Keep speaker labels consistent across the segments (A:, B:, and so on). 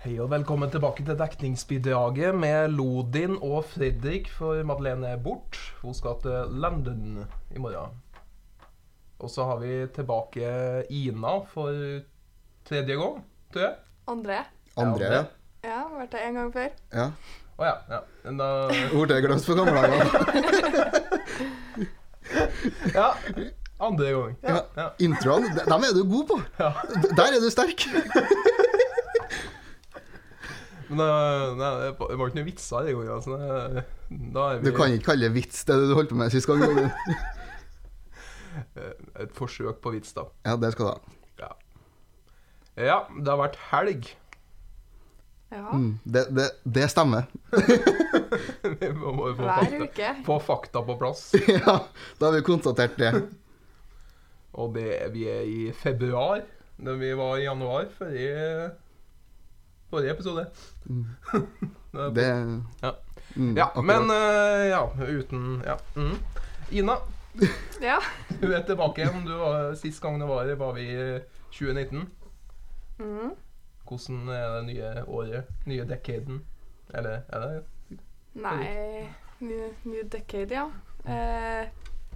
A: Hei og velkommen tilbake til dekningsbidraget med Lodin og Fredrik, for Madeleine er bort. Hun skal til London i morgen. Og så har vi tilbake Ina for tredje gang, tror jeg.
B: Andre.
A: Ja,
C: Andre,
A: det-
C: ja.
B: Ja, har vært der en gang før.
C: ja.
A: Å ja. ja. Men eh, Da,
C: Ord jeg glemt på gamle dager.
A: ja. Andre gang. Ja.
C: Ja. Introen, de- dem er du god på.
A: Ja.
C: D- Der er du sterk.
A: Men da, nei, det var det var ikke noe vitser i går. Altså. Det- Da er vi
C: Du kan ikke kalle det vits det du holdt på med sist gang. Robin.
A: et forsøk på vits, da.
C: Ja, det skal du ha.
A: Ja. ja, det har vært helg.
B: Ja,
C: Mm, Det, det, det stemmer.
A: Vi må jo få
B: Hver
A: fakta-
B: uke.
A: Få fakta på plass.
C: Ja, da har vi konstatert det.
A: Og det, vi er i februar. Da vi var i januar forrige, forrige episode.
C: Mm. Det
A: Ja.
C: Mm,
A: ja,
C: akkurat.
A: men eh, Ja, uten Ja. Mm. Ina,
B: ja.
A: du er tilbake igjen. Du var, sist gang du var her, var vi i 2019.
B: Mm.
A: Hvordan er det nye året? Nye decaden? Eller er det
B: Nei New, new decade, ja. Eh,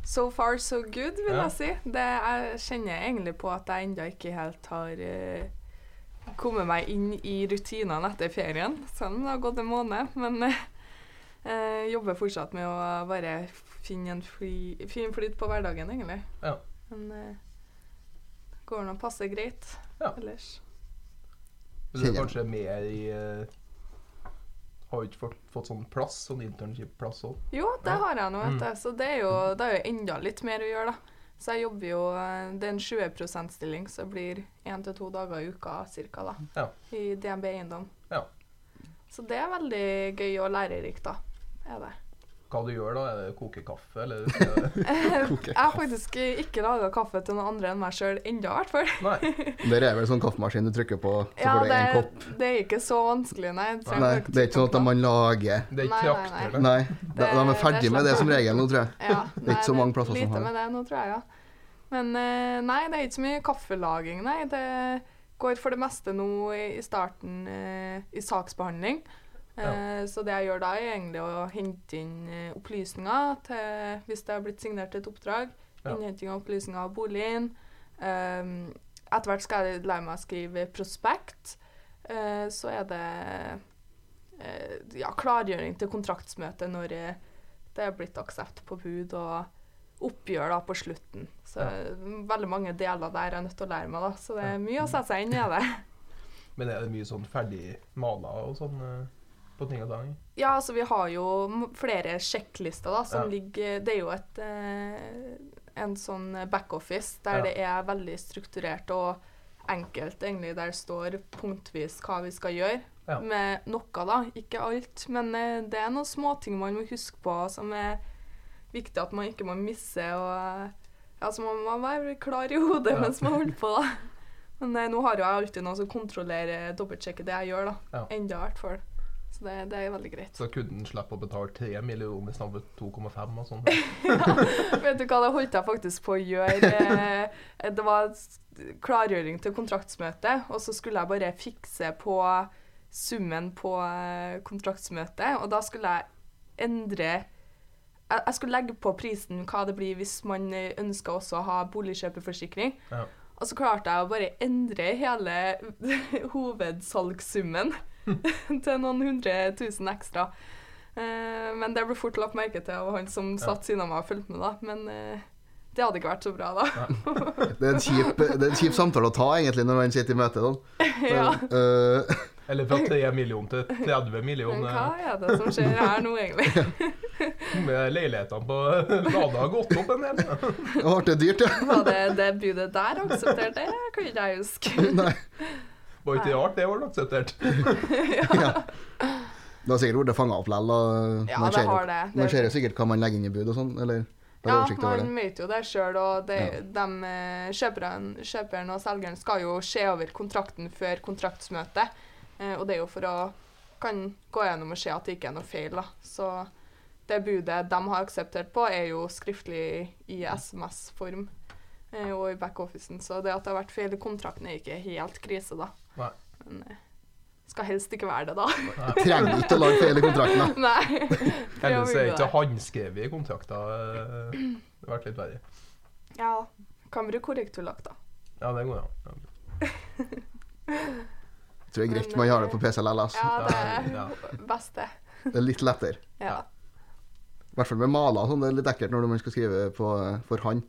B: so far, so good, vil
A: Ja.
B: jeg si. Det, jeg kjenner egentlig på at jeg ennå ikke helt har eh, kommet meg inn i rutinene etter ferien, selv om det har gått en måned. Men eh, eh, jobber fortsatt med å bare finne en fly, fin flyt på hverdagen, egentlig.
A: Ja.
B: Men eh, går nå passe greit
A: Ja.
B: ellers.
A: Du er kanskje mer i eh, Har jo ikke fått, fått sånn plass, sånn internship-plass òg.
B: Jo, det
A: Ja.
B: har jeg nå,
A: Mm.
B: vet du. Så det er, jo, det er jo enda litt mer å gjøre, da. Så jeg jobber jo eh, Det er en 20 %-stilling, så det blir én til to dager i uka cirka, da.
A: Ja.
B: I DNB Eiendom.
A: Ja.
B: Så det er veldig gøy og lærerikt, da. Er det.
A: Hva du gjør da? Er det koke kaffe, eller?
B: Jeg har faktisk ikke laga kaffe til noen andre enn meg sjøl ennå, i hvert fall.
A: Nei.
C: Det er vel sånn kaffemaskin du trykker på, så
B: Ja,
C: får du
B: det,
C: én kopp.
B: det er ikke så vanskelig, nei. Jeg trenger
C: Nei,
B: ikke
C: det er ikke sånn at
B: trykke på
C: man lager
A: Det er ikke
B: Nei, nei,
A: trakter, det.
C: Nei, de, de er
B: det er
C: ferdig med det som regel nå, tror jeg.
B: Ja,
C: Det er ikke så mange plasser som
B: lite
C: har det.
B: med det nå, tror jeg, ja. Men eh, nei, det er ikke så mye kaffelaging, nei. Det går for det meste nå i i starten eh, i saksbehandling. Eh, Så det jeg gjør da, er egentlig å hente inn eh, opplysninger til Hvis det har blitt signert et oppdrag.
A: Ja.
B: Innhenting av opplysninger av boligen. Eh, Etter hvert skal jeg lære meg å skrive prospekt. Eh, Så er det eh, ja, klargjøring til kontraktsmøte når eh, det er blitt aksept på bud, og oppgjør da på slutten. Så veldig mange deler der jeg er nødt til å lære meg, da. Så det er mye å sette seg inn i det.
A: Men er det mye sånn ferdig mala og sånn eh, på ting og tang?
B: Ja, altså vi har jo m- flere sjekklister da, som
A: Ja.
B: ligger Det er jo et, eh, en sånn backoffice der
A: Ja.
B: det er veldig strukturert og enkelt, egentlig. Der står punktvis hva vi skal gjøre.
A: Ja.
B: Med noe, da. Ikke alt. Men eh, det er noen småting man må huske på som er viktig at man ikke må misse. og eh, ja, så må man være klar i hodet
A: Ja.
B: mens man holder på, da. Men eh, nå har jo jeg alltid noen som kontrollerer, dobbeltsjekker det jeg gjør, da.
A: Ja.
B: Enda, i hvert fall. Så det, det er veldig greit.
A: Så kunden slipper å betale 3 millioner istedenfor 2,5 og sånn.
B: Vet du hva, det holdt jeg faktisk på å gjøre. Eh, Det var s- klargjøring til kontraktsmøte, og så skulle jeg bare fikse på summen på eh, kontraktsmøtet, og da skulle jeg endre jeg jeg skulle legge på prisen hva det blir hvis man eh, ønsker også å ha boligkjøperforsikring.
A: Ja.
B: Og så klarte jeg å bare endre hele hovedsalgssummen til noen hundre tusen ekstra. Eh, men det ble fort lagt merke til av han som satt siden av meg og fulgte med, da. Men eh, det hadde ikke vært så bra, da.
C: Det er en kjip, det er en kjip samtale å ta, egentlig, når man sitter i møte. Sånn.
B: ja.
C: Øh,
A: Eller fra 3 millioner til 30
B: Men
A: millioner.
B: hva
C: eh,
B: er det som skjer her nå, egentlig?
A: Med leilighetene på Lada har gått opp en del.
C: det ble det dyrt, ja.
B: Var det det budet der akseptert? Det kan ikke jeg huske.
C: Nei.
A: Var ikke rart det var akseptert.
C: ja. Det har sikkert vært fanga opp lell. og
B: Ja,
C: man
B: det
C: ser-
B: har det.
C: Man ser
B: det
C: jo sikkert hva man legger inn i bud og sånn, eller? Det er
B: ja,
C: oversikt over det.
B: man vet jo det sjøl, og det,
C: Ja.
B: dem, eh, kjøperen, kjøperen og selgeren skal jo se over kontrakten før kontraktsmøtet. Eh, og det er jo for å kan gå gjennom og se at det ikke er noe feil. da. Så det budet de har akseptert på, er jo skriftlig i SMS-form eh, og i backofficen. Så det at det har vært feil i kontrakten, er ikke helt krise, da.
A: Nei.
B: Men, eh, Skal helst ikke være det, da.
C: Trenger ikke å lage feil i kontrakten, da.
B: Nei. prøv å
A: Ellers er
B: unngå
A: ikke
B: det.
A: håndskrevne kontrakter eh, Det har vært litt verre.
B: Ja. Kan bruke korrekturlakk, da.
A: Ja, det går an. Ja.
C: Tror jeg er greit man har det på PC eller LS.
B: Ja, det
A: Ja.
B: er best, det.
C: Det er litt lettere.
B: Ja.
C: I hvert fall med maler og sånn. Det er litt ekkelt når man skal skrive på, for han.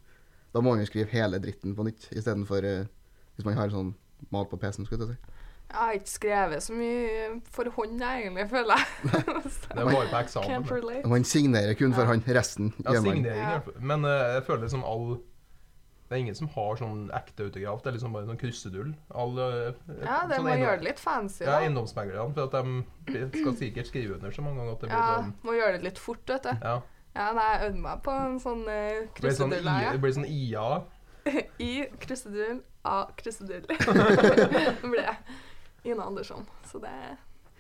C: Da må man jo skrive hele dritten på nytt istedenfor uh, hvis man har sånn mal på PC-en. skulle jeg til å si.
B: Jeg har ikke skrevet så mye for hånd, jeg, egentlig, føler jeg. Så,
A: Det var jo på eksamen.
B: Can't
A: det.
B: relate.
C: Man signerer kun for
B: Ja.
C: han. Resten
A: Ja,
C: gjør man.
A: signering, i hvert fall. Men eh, jeg føler liksom all Det er ingen som har sånn ekte autograf. Det er liksom bare sånn kryssedull. All, eh,
B: Ja, det
A: sånn
B: må
A: eiendom-
B: gjøre det litt fancy,
A: Ja,
B: da.
A: eiendomsmeglerne. For at de skal sikkert skrive under så mange ganger at det blir
B: Ja,
A: sånn
B: må gjøre det litt fort, vet du.
A: Ja.
B: Ja, nei, jeg øvde meg på en sånn uh,
A: Det blir sånn,
B: kryssedull.
A: I-
B: her,
A: det blir sånn IA.
B: ja. I kryssedull, av kryssedull. Nå ble jeg Ina Andersson, så det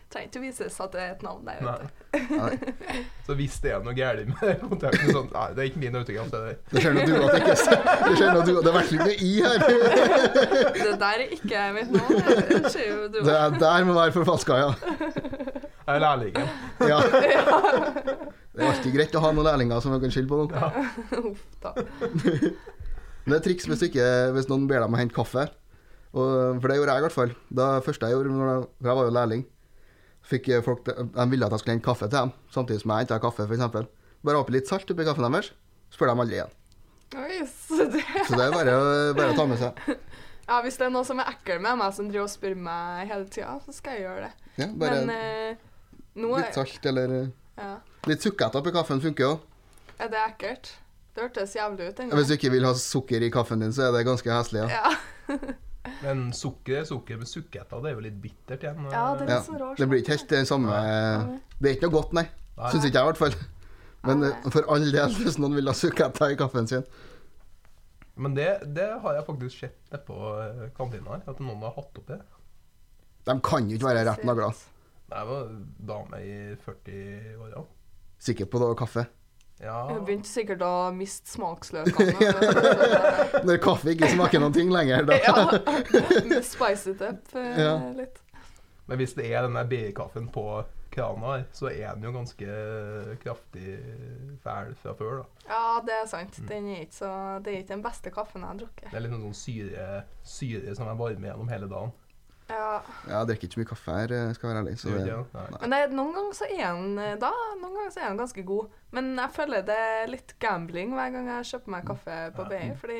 B: trenger ikke å vises at det er et navn der. vet
A: Nei.
B: du.
A: Så hvis det er noe galt med kontakten sånn, Nei, det er ikke min autograf, det der.
C: Det skjer noe du at ikke Det skjer noe du Det er virkelig ikke noe i her.
B: Det der er ikke mitt navn. det- Det ser jo du
C: Det er der må være forfalska, ja.
A: Jeg er lærlingen.
C: ja. Det er alltid greit å ha noen lærlinger som man kan skylde på noen.
B: Uff da.
C: Men det er triks hvis, du ikke, hvis noen ber deg om å hente kaffe. Og, for det gjorde jeg i hvert fall. Det første jeg gjorde, når jeg, for jeg var jo lærling, fikk jeg folk til- de ville at jeg skulle hente kaffe til dem, samtidig som jeg henta kaffe, f.eks. Bare oppi litt salt oppi kaffen deres, spør de aldri igjen.
B: Oi, så det.
C: Så det er bare, bare å ta med seg.
B: Ja, hvis det er noen som er ekkel med meg, som driver og spør meg hele tida, så skal jeg gjøre det.
C: Ja, bare
B: Men eh, nå
C: litt salt eller eh,
B: ja,
C: Litt sukkert oppi kaffen funker jo.
B: er det ekkelt. Det hørtes jævlig ut.
C: Hvis du ikke vil ha sukker i kaffen din, så er det ganske heslig. Ja.
B: Ja.
A: Men sukker er sukker, men sukkerheter, det er jo litt bittert igjen.
B: ja, det er
C: Ja,
B: litt sånn rar
C: Det blir ikke helt den samme
B: Nei.
C: Det er ikke noe godt, nei.
A: Nei.
C: Syns ikke jeg, i hvert fall. Men
B: Nei.
C: eh, for all del, hvis noen vil ha sukkerter i kaffen sin
A: Men det, det har jeg faktisk sett nedpå eh, kantina her, at noen har hatt opp det.
C: De kan jo ikke være rett nagla.
A: Nei, Det var en dame i 40-åra.
C: Sikker på det var kaffe.
A: Ja.
B: Hun begynte sikkert å miste smaksløkene.
C: Når kaffe ikke smaker noen ting lenger, da.
B: ja. Spice it up eh,
C: Ja.
B: litt.
A: Men hvis det er den der BI-kaffen på krana her, så er den jo ganske eh, kraftig fæl fra før, da.
B: Ja, det er sant. Den er ikke så, det er ikke den beste kaffen jeg har drukket.
A: Det er litt sånn syre, syre som er varme gjennom hele dagen.
B: Ja.
C: Jeg drikker ikke så mye kaffe her, eh, skal jeg være ærlig. Så
A: Gjør
C: det,
A: ikke det? Nei.
B: Men det, er- noen ganger så er den eh, da, noen ganger så er den ganske god. Men jeg føler det er litt gambling hver gang jeg kjøper meg kaffe på BI. Fordi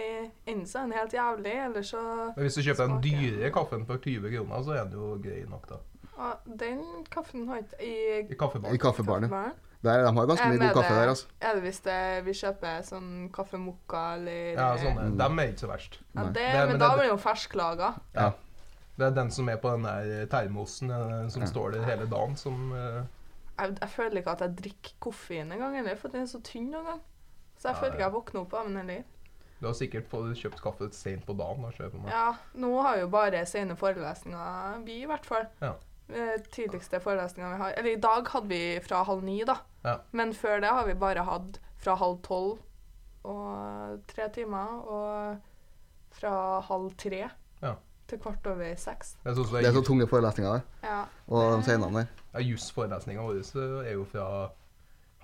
B: enten så er den helt jævlig, eller så
A: Men hvis du kjøper den
B: Smaker.
A: dyre kaffen for 20 kroner, så er den jo grei nok, da.
B: Å, Den kaffen har ikke i
A: I kaffebaren.
C: I kaffebaren. ja.
B: kaffebaren.
C: Der, de har ganske
B: Jeg
C: mye god
B: mener-
C: kaffe der, altså.
B: Er det hvis det, vi kjøper sånn kaffe mokka eller
A: Ja, sånne.
C: Mm.
A: Dem er ikke så verst.
B: Ja, det,
A: Nei, men
B: men
A: det-
B: da blir det jo fersklaga.
C: Ja.
A: Det er den som er på den der termosen eh, som
C: Ja.
A: står der hele dagen, som eh,
B: Jeg, jeg føler ikke at jeg drikker koffein engang, eller, for den er så tynn noen gang. Så jeg
A: Ja,
B: føler ikke
A: ja.
B: jeg våkner opp av den heller.
A: Du har sikkert fått kjøpt kaffe sent på dagen. da, ser jeg på meg.
B: Ja, nå har jo bare sene forelesninger vi, i hvert fall.
A: Ja.
B: Eh, Tidligste forelesninga vi har Eller i dag hadde vi fra halv ni, da.
A: Ja.
B: Men før det har vi bare hatt fra halv tolv og tre timer, og fra halv tre
A: Ja.
B: til kvart over seks.
A: Det er sånn som
C: Det er så
A: er
C: tunge forelesninger der.
B: Ja.
C: Og de seinene der.
A: Ja, Jusforelesninga vår eh, er jo fra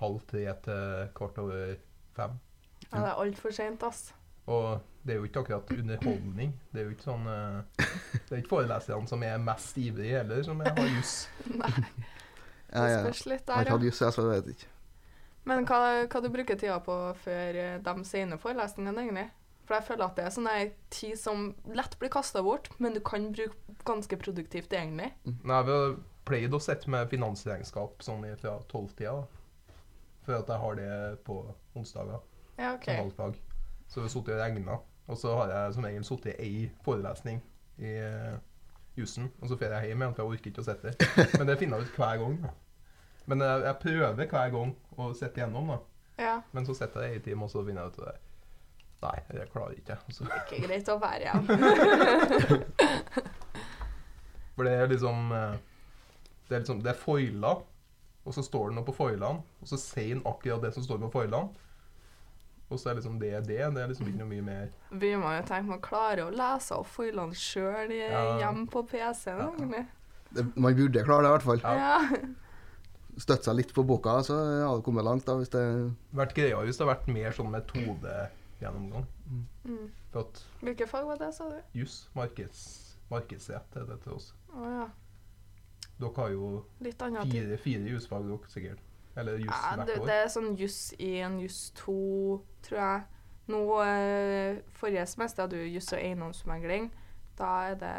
A: halv tre til kvart over fem.
B: Ja, det er altfor seint, ass.
A: Og det er jo ikke akkurat underholdning. Det er jo ikke sånn eh, Det er ikke foreleserne som er mest ivrige heller, som er- har juss.
C: Ja,
B: Det
C: ja.
B: spørs litt
C: Jeg har
B: der,
C: ikke hatt
B: ja.
C: juss, jeg, så jeg vet ikke.
B: Men hva, hva du bruker tida på før eh, de sene forelesningene, egentlig? For jeg føler at det er sånn ei tid som lett blir kasta bort, men du kan bruke ganske produktivt, egentlig.
A: Nei, vi har pleid å sette med finansregnskap sånn i- fra tolvtida. da. For at jeg har det på onsdager
B: Ja, OK.
A: som valgfag. Så vi har sittet og regna. Og så har jeg som regel sittet i ei forelesning i eh, jussen. Og så drar jeg hjem igjen, for jeg orker ikke å sitte der. Men det finner jeg ut hver gang. da. Men jeg, jeg prøver hver gang å sitte igjennom, da.
B: Ja,
A: Men så sitter jeg i en time, og så finner jeg ut at Nei, det klarer jeg ikke. Og så
B: ikke greit å være hjemme.
A: For det er liksom eh, Det er liksom, det er foila, og så står det noe på foilene, og så sier han akkurat det som står på foilene. Og så er liksom det det. Det er liksom ikke noe mye mer
B: Begynner man jo å tenke man klarer å lese opp foilene eh, sjøl
A: Ja.
B: hjemme på PC-en, egentlig.
C: det- Man burde klare det, i hvert fall.
A: Ja.
B: Ja.
C: Støtte seg litt på boka, så har du kommet langt. da, hvis det...
A: Vært greia hvis det har vært mer sånn metodegjennomgang.
B: Mm.
A: For at
B: Hvilke fag var det, sa du?
A: juss, markeds, markedsrett, er det til oss.
B: Å ja.
A: Dere har jo
B: Litt annet. tid.
A: fire, fire jusfag, dere sikkert. Eller juss
B: Ja,
A: hvert
B: det,
A: år.
B: det er sånn juss 1, juss 2, tror jeg. Nå, eh, Forrige semester hadde du juss og eiendomsmegling. Da, er det,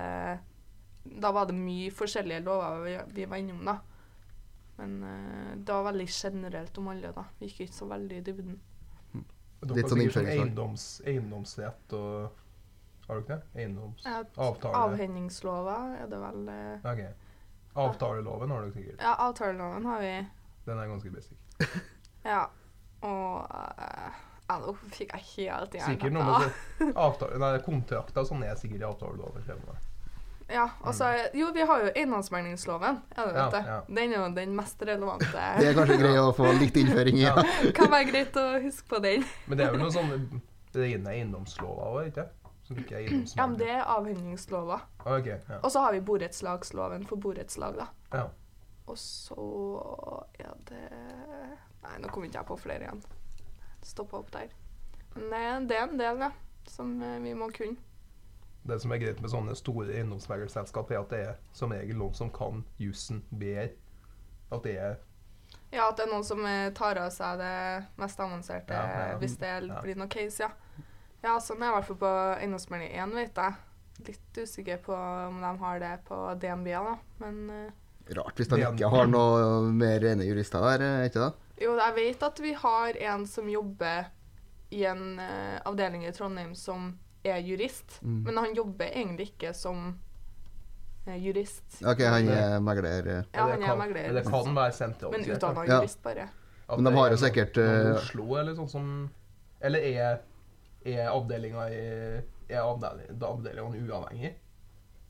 B: da var det mye forskjellige lover vi, vi var innom, da. Men eh, det var veldig generelt om alle, da. Vi gikk ikke så veldig i dybden.
A: Dere har
C: Litt sånn
A: sikkert sånn
C: innføringsfag.
A: eiendoms, eiendomsrett og Har dere det? Eiendoms...
B: Ja,
A: Avtale.
B: Avhendingslover er det vel eh,
A: Ok. Avtaleloven har dere sikkert.
B: Ja, avtaleloven har vi.
A: Den er ganske basic.
B: Ja. Og eh, ja, nå fikk jeg helt hjernen.
A: Sikkert noe med det- avtale, nei, kontrakter og sånn er sikkert i avtaleloven. skjønner jeg.
B: Ja, og så er- Jo, vi har jo eiendomsmeglingsloven. Er det,
A: Ja,
B: vet du?
A: ja.
B: Den er jo den mest
C: det
B: relevante.
C: er kanskje greit å få litt innføring i.
A: Ja.
C: Ja.
B: kan være greit å huske på den.
A: Men det er vel noe sånn rene eiendomslover òg, ikke Som ikke er eiendomsloven.
B: Ja, men det er avhendingsloven.
A: Ok, ja.
B: Og så har vi borettslagsloven for borettslag, da.
A: ja.
B: Og så er det Nei, nå kom ikke jeg på flere igjen. Stoppa opp der. Men det er en del, ja, som eh, vi må kunne.
A: Det som er greit med sånne store eiendomsmeglerselskap, er at det er som regel noen som kan jussen bedre. At det er
B: Ja, at det er noen som eh, tar av seg det mest avanserte
A: Ja, ja.
B: hvis det
A: Ja.
B: blir noe case, ja. Ja, sånn er det i hvert fall på eiendomsmelding 1, vet jeg. Litt usikker på om de har det på DNB, da. Men eh,
C: Rart hvis de ikke har noe mer rene jurister der, er ikke det?
B: jo, jeg vet at vi har en som jobber i en eh, avdeling i Trondheim som er jurist,
C: Mm.
B: men han jobber egentlig ikke som eh, jurist.
C: OK, han er megler. eh.
B: Ja, han
A: det
B: er
A: kan-
B: megler,
A: Det kan være sentralt.
B: men
A: sikkert,
B: utdanna
C: Ja.
B: jurist, bare.
A: At
C: Men de
A: det
C: har
A: er
C: jo
A: noe-
C: sikkert,
A: noe i
C: eh,
A: Oslo eller sånn som Eller er, er avdelinga i Er avdeli- da avdelingene uavhengig?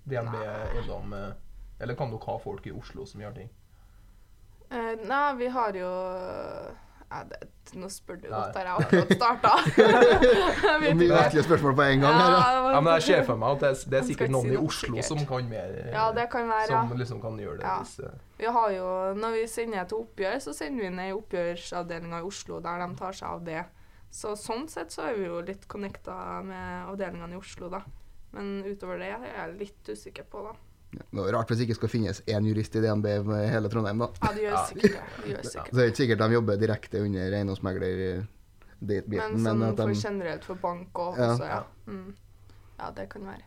A: DNB eiendom eh, Eller kan dere ha folk i Oslo som gjør ting?
B: Eh, nei, vi har jo ja, det, Nå spør du
A: Nei.
B: godt der jeg akkurat starta. Jeg vet
C: Mye
B: ikke.
C: vanskelige spørsmål på en gang. her, ja.
B: det var-
A: Ja, men Jeg ser for meg at det, er- det er
B: Man skal
A: sikkert
B: ikke si
A: noen i
B: noe,
A: Oslo
B: sikkert.
A: som kan mer eh,
B: Ja, det kan være. ja.
A: Som liksom kan gjøre det.
B: Ja.
A: Hvis, eh,
B: Vi har jo, Når vi sender til oppgjør, så sender vi ned i oppgjørsavdelinga i Oslo, der de tar seg av det. Så Sånn sett så er vi jo litt connecta med avdelingene i Oslo, da. Men utover det er jeg litt usikker på, da.
C: Det er rart hvis det ikke skal finnes én jurist i DNB med hele Trondheim, da.
B: Ja, det gjør
A: Ja.
B: sikkert det. det. gjør sikkert.
C: Så det er ikke sikkert de jobber direkte under eiendomsmegler-biten,
B: Men
C: men,
B: sånn
C: at
B: for
C: de
B: generelt for bank og
C: Ja.
B: også, ja. Mm. Ja, det kan være.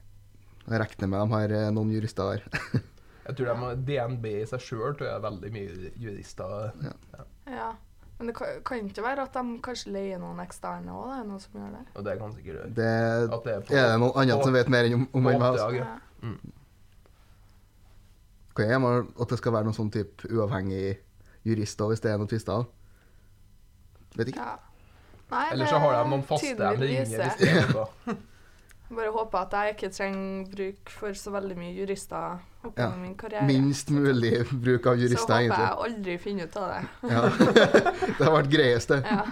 C: jeg regner med de har eh, noen jurister der.
A: jeg tror de, har- DNB i seg sjøl tror jeg er veldig mye jurister.
B: Ja, men det kan, kan ikke være at de kanskje leier noen eksterne òg, det er noen som gjør det.
A: Og det kan sikkert gjøre.
C: Det er
A: At det er på,
C: det noen andre
A: på-
C: som vet mer enn om- om
A: på
C: enn meg. altså.
A: oppdrag, ja.
B: Ja.
C: Hva er det med at det skal være noen sånn type uavhengig jurist da, hvis det er noen tvister? Vet ikke.
B: Ja. Nei,
A: Eller
B: det-
A: så har de noen faste liksom.
B: tiden
A: de
B: vil
A: ringer
B: vise.
A: hvis det er noe.
B: Bare håper at jeg ikke trenger bruk for så veldig mye jurister opp
C: Ja.
B: gjennom min karriere.
C: Minst mulig bruk av
B: så håper
C: jurister,
B: jeg
C: egentlig.
B: aldri finner ut av det.
C: Ja. det har vært greiest, det.
B: Ja.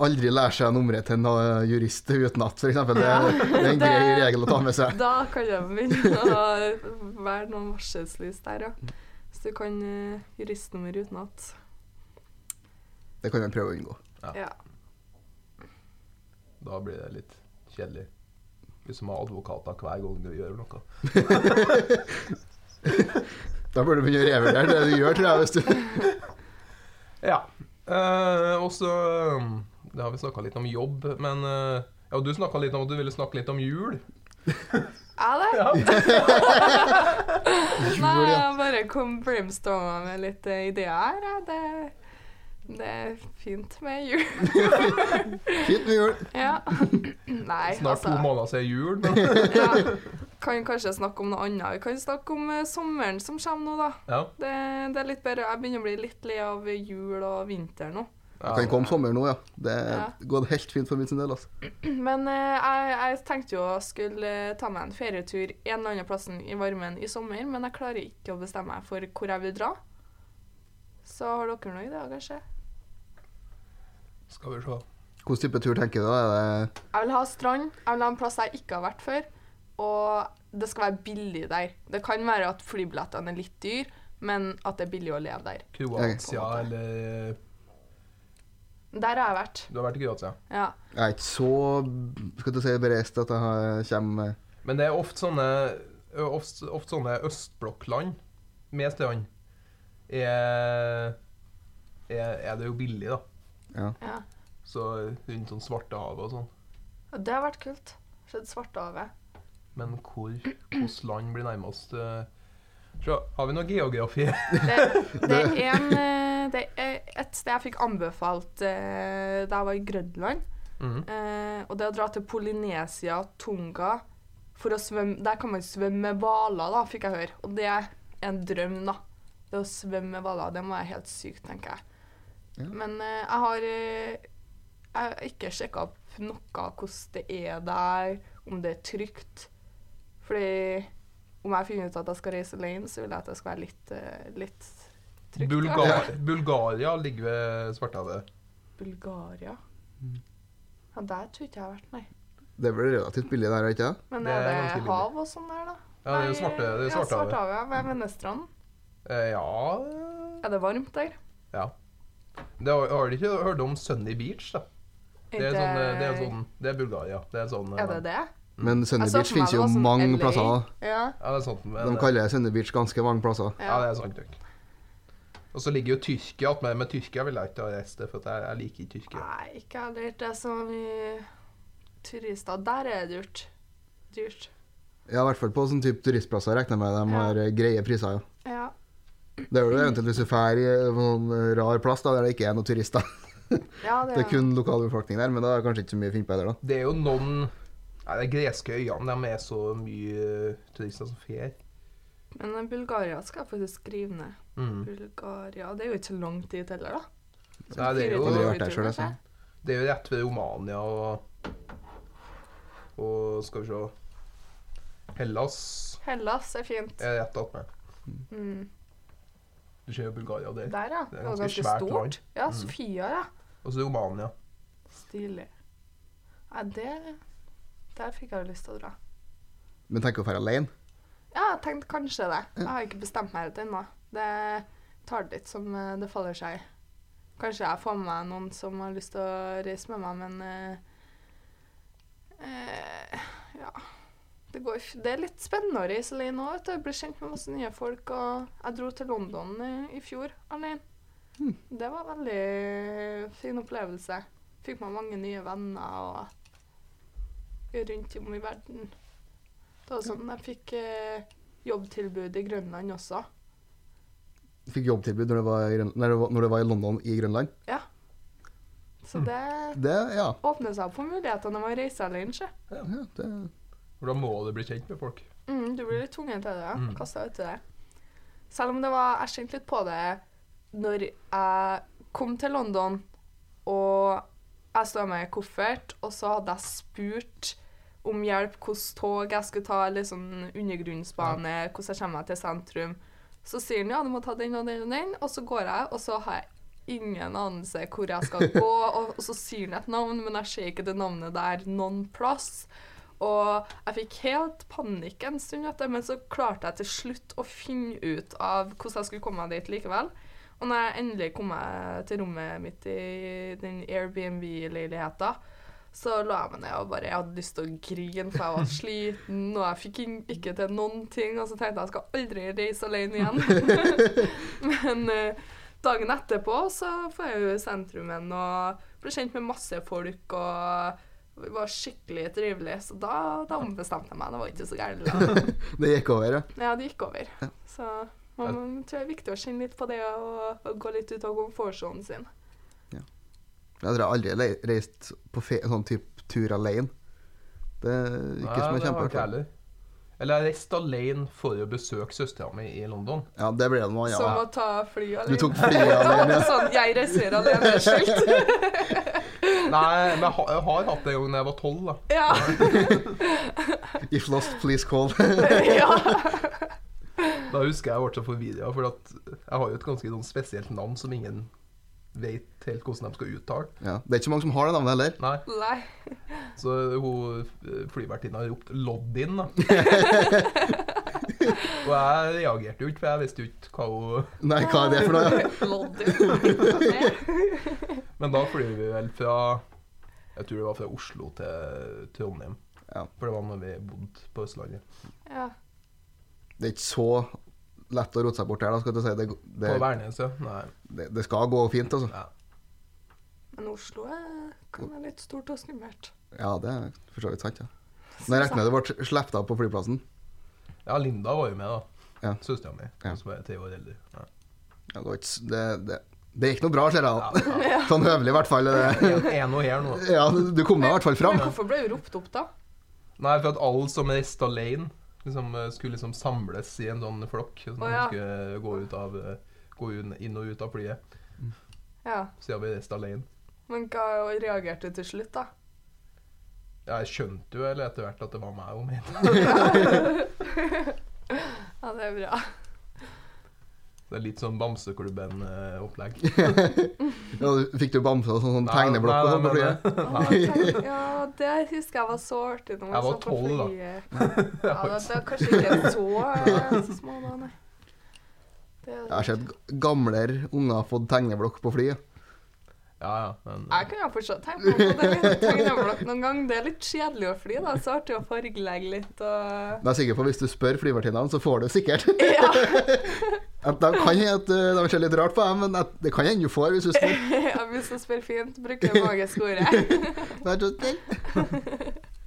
C: Aldri lære seg nummeret til noen jurist utenat, f.eks. Det, er- det er en grei
B: Det-
C: regel å ta med seg.
B: Da kan det begynne å være noen varselslys der, ja. Hvis du kan eh, juristnummer utenat.
C: Det kan man prøve å unngå.
B: Ja.
A: Da blir det litt kjedelig. Hvis man har advokater hver gang du gjør noe.
C: Da burde du begynne å revurdere det du gjør, tror jeg. Hvis du...
A: Ja. Eh, og så um, Det har vi snakka litt om jobb, men eh, Ja, du snakka litt om at du ville snakke litt om jul.
B: Ja, det.
A: Ja.
B: Nei,
C: ja.
B: jeg bare kom brainstorma med litt eh, ideer her. ja. Det, det er fint med jul.
C: Fint med jul.
B: Ja. Nei,
A: Snart to
B: altså.
A: måneder siden jul. Men,
B: Ja. Kan kanskje snakke om noe annet. Vi kan snakke om eh, sommeren som kommer nå, da.
A: ja.
B: Det, det er litt bedre. Jeg begynner å bli litt lei av jul og vinter nå.
A: Ja.
C: Kan komme sommer nå, ja. Det
B: Ja.
C: går helt fint for min sin del. Altså.
B: Men eh, jeg, jeg tenkte jo å skulle eh, ta meg en ferietur en eller annen plass i varmen i sommer, men jeg klarer ikke å bestemme meg for hvor jeg vil dra. Så har dere noen ideer, kanskje?
A: Skal vi se.
C: Hvilken type tur tenker du? da? Er det
B: Jeg vil ha strand. Jeg vil ha en plass jeg ikke har vært før. Og det skal være billig der. Det kan være at flybillettene er litt dyre, men at det er billig å leve der.
A: Kroatia
B: Ok.
A: eller
B: Der har jeg vært.
A: Du har vært i Kroatia.
B: Ja.
C: Jeg er ikke så skal du si, bereist at jeg har- kommer
A: Men det er ofte sånne, ofte, ofte sånne østblokkland med stedene. Er, er, er det jo billig, da.
B: ja.
A: Så rundt sånn Svartehavet og sånn.
B: Og det har vært kult. Sett Svartehavet.
A: Men hvor hvilket land blir nærmest eh, Se, har vi noe geografi?
B: Det, det, er en, eh, det er et sted jeg fikk anbefalt eh, da jeg var i Grønland.
A: Mhm.
B: Eh, og det å dra til Polynesia, Tunga for å svømme, Der kan man svømme med hvaler, da, fikk jeg høre. Og det er en drøm, da. Det å svømme med hvaler. Det må være helt sykt, tenker jeg.
C: Ja.
B: Men eh, jeg har eh, Jeg har ikke sjekka opp noe hvordan det er der, om det er trygt. Fordi om jeg finner ut at jeg skal reise alene, så vil jeg at det skal være litt, eh, litt trygt.
A: Bulgar
B: Ja.
A: Bulgaria ligger ved Svartehavet.
B: Bulgaria. Ja, der tror ikke jeg har vært, nei.
C: Det er vel relativt billig der, er det ikke det?
B: Men
A: Det
B: er
A: er
B: det
A: ganske billig.
B: hav og sånn der, da?
A: Ja, det er jo
B: Nei,
A: svarte, det er
B: ja,
A: Svartehavet.
B: Svartehavet. Hva er Vennestrand?
A: Eh, ja
B: Er det varmt der?
A: Ja. Det har, har du ikke hørt om Sunny Beach, da? Det er, sånn, eh, det er, sånn, det er Bulgaria. Det er sånn eh,
B: Er det det?
C: Men Sunny
B: Jeg så
C: Beach
B: for meg
C: finnes
B: det
C: jo
B: var sånn
C: mange
B: LA.
C: plasser. da.
B: Ja.
A: Ja, det er sånn, sånt, men,
C: De kaller Sunny Beach ganske mange plasser.
A: ja, det
B: ja.
A: er sant. nok. Og så ligger jo Tyrkia attmed. Men Tyrkia vil jeg ikke ha reist til, for at jeg, jeg liker ikke Tyrkia.
B: Nei, ikke heller. Det er så mye turister. Der er det dyrt. Dyrt.
C: Ja, I hvert fall på sånn type turistplasser regner jeg med de
B: Ja.
C: har eh, greie priser. Ja.
B: Ja.
C: Det er jo det eventuelt hvis du drar i en sånn rar plass da, der det ikke er noen turister.
B: ja det,
C: Det er kun lokalbefolkning der, men da er det kanskje ikke så mye å finne på heller, da.
A: Det er jo noen Nei, de greske øyene de er så mye eh, turister som fer.
B: Men eh, Bulgaria skal jeg faktisk skrive ned.
A: Mm.
B: Bulgaria Det er jo ikke så lang tid heller, da.
A: Nei, det er
C: Jeg har aldri
A: jo,
C: vært der selv, altså.
A: det er jo rett ved Romania og Og skal vi se Hellas
B: Hellas er fint.
A: er rett attmed.
B: Mm.
A: Du ser jo Bulgaria der.
B: Der, ja.
A: Det
B: Det
A: er
B: var
A: ganske
B: ganske
A: svært land. Mm.
B: stort. Ja, Sofia, ja.
A: Og så Romania.
B: Stilig. Nei, det Der fikk jeg jo lyst til å dra.
C: Men tenk å dra alene.
B: Ja, jeg tenkte kanskje det. Jeg har ikke bestemt meg helt ennå. Det tar det litt som eh, det faller seg. Kanskje jeg får med meg noen som har lyst til å reise med meg, men eh, eh, Ja. Det, går, f- det er litt spennende å reise alene òg. Jeg blir kjent med masse nye folk. Og jeg dro til London i, i fjor alene. Det var en veldig fin opplevelse. Fikk meg mange nye venner og rundt om i verden. Det var sånn jeg fikk eh, jobbtilbud i Grønland også.
C: Fikk jobbtilbud når det var, i Grøn- når det var, når det var i London i Grønland.
B: Ja. Så det
C: Det, ja.
B: åpner seg opp for mulighetene når man reiser alene. sjø.
C: ja det,
A: For da må du bli kjent med folk.
B: Mm, du blir litt tvunget til det. ja.
A: Mm.
B: Kastet ut til det. Selv om det var Jeg kjente litt på det når jeg kom til London og jeg stod med en koffert, og så hadde jeg spurt om hjelp, hvilket tog jeg skulle ta, eller sånn undergrunnsbane, hvordan jeg kommer meg til sentrum. Så sier han ja, du må ta den og den og den, og så går jeg, og så har jeg ingen anelse hvor jeg skal gå, og, og så sier han et navn, men jeg ser ikke det navnet der noen plass. Og jeg fikk helt panikk en stund etter, men så klarte jeg til slutt å finne ut av hvordan jeg skulle komme meg dit likevel. Og når jeg endelig kom meg til rommet mitt i den Airbnb-leiligheta, så la jeg meg ned og bare Jeg hadde lyst til å grine, for jeg var sliten, og jeg fikk ing- ikke til noen ting. Og så tenkte jeg jeg skal aldri reise alene igjen. men eh, dagen etterpå så får jeg jo i sentrum igjen og blir kjent med masse folk og det var skikkelig trivelig. Så da, da ombestemte jeg meg. Det var ikke så gærent.
C: det gikk over, ja.
B: Ja, det gikk over. Så man man tror det er viktig å kjenne litt på det og, og gå litt ut av komfortsonen sin.
C: Jeg tror jeg aldri le- reist på fe sånn type tur alene. Det er ikke som jeg
A: det har
C: kjemper
A: ikke jeg heller. Eller jeg reiste alene for å besøke søstera mi i London.
C: Ja, det ble det noe annet.
B: Som
C: Ja.
B: å ta fly
C: Du tok
B: alene.
C: flyet alene, ja.
B: Sånn 'jeg reiser alene'-skilt.
A: Nei, men jeg har, jeg har hatt det en gang da jeg var tolv, da.
B: Ja.
C: If lost, please call.
B: ja.
A: Da husker jeg jeg ble så forvirra, for at jeg har jo et ganske sånn spesielt navn som ingen vet helt hvordan de skal uttale.
C: Ja. Det er ikke så mange som har det navnet heller.
A: Nei,
B: Nei.
A: så hun eh, flyvertinna ropte 'Loddin', da. Og jeg reagerte jo ikke, for jeg visste jo ikke hva hun
C: Nei, hva er det for noe?
B: Loddy.
A: Men da flyr vi vel fra Jeg tror det var fra Oslo til Trondheim.
C: Ja.
A: For det var når vi bodde på Østlandet.
B: Ja.
C: Det er ikke så lett å rote seg bort her, da, skal jeg til å si. Det,
A: På
C: det,
A: Værnes, ja. Nei.
C: det, det skal gå fint, altså.
A: Ja.
B: Men Oslo er, kan være litt stort og skummelt.
C: Ja, det er for så vidt sant, ja. Men jeg regner med det ble sluppet av på flyplassen.
A: ja, Linda var jo med, da.
C: Ja.
A: Søstera mi.
C: Ja.
A: Som var tre år eldre. Ja.
C: Ja, det, var ikke, s- det, det, det gikk noe bra, ser
A: Ja,
C: jeg.
A: ja.
C: da. Sånn høvelig, i hvert fall. Det.
A: En, en og her nå.
C: Ja, du kom deg i hvert fall fram.
B: Men hvorfor ble hun ropt opp, da?
A: Nei, for at alle som reiste alene, liksom, eh, skulle liksom samles i en sånn flokk. Sånn,
B: Å, ja.
A: at de Skulle gå, ut av, eh, gå inn, inn og ut av flyet,
B: Ja.
A: siden vi reiste alene.
B: Men hva reagerte hun til slutt, da?
A: Jeg skjønte jo eller etter hvert at det var meg hun mente.
B: Ja, det er bra.
A: Det er litt sånn Bamseklubben-opplegg.
C: Ja, du- fikk du bamse og sånn, sånn
A: Nei,
C: tegneblokk og
A: nei,
C: sånn på
A: nei,
B: Ja,
C: flyet?
B: tenk- ja, det husker jeg var så artig. Når man
A: Jeg var
B: satt på
A: 12 da.
B: flyet. Ja, det, det er kanskje ikke så, eh, så små da, nei. Det,
C: Jeg har sett g- gamlere unger fått tegneblokk på flyet.
A: Ja, ja, men eh,
B: Jeg kan jo fortsatt tenke meg på det. Tegneblokk noen gang. Det er litt kjedelig å fly, da. Så artig å fargelegge litt og
C: Men jeg er sikker på at hvis du spør flyvertinnene, så får du sikkert.
B: Ja.
C: At de kan hende at eh, de ser litt rart på deg, men at det kan hende du får hvis du spør.
B: Jeg begynte å spørre fint, bruker det magiske ordet.
C: Nei, så- nei.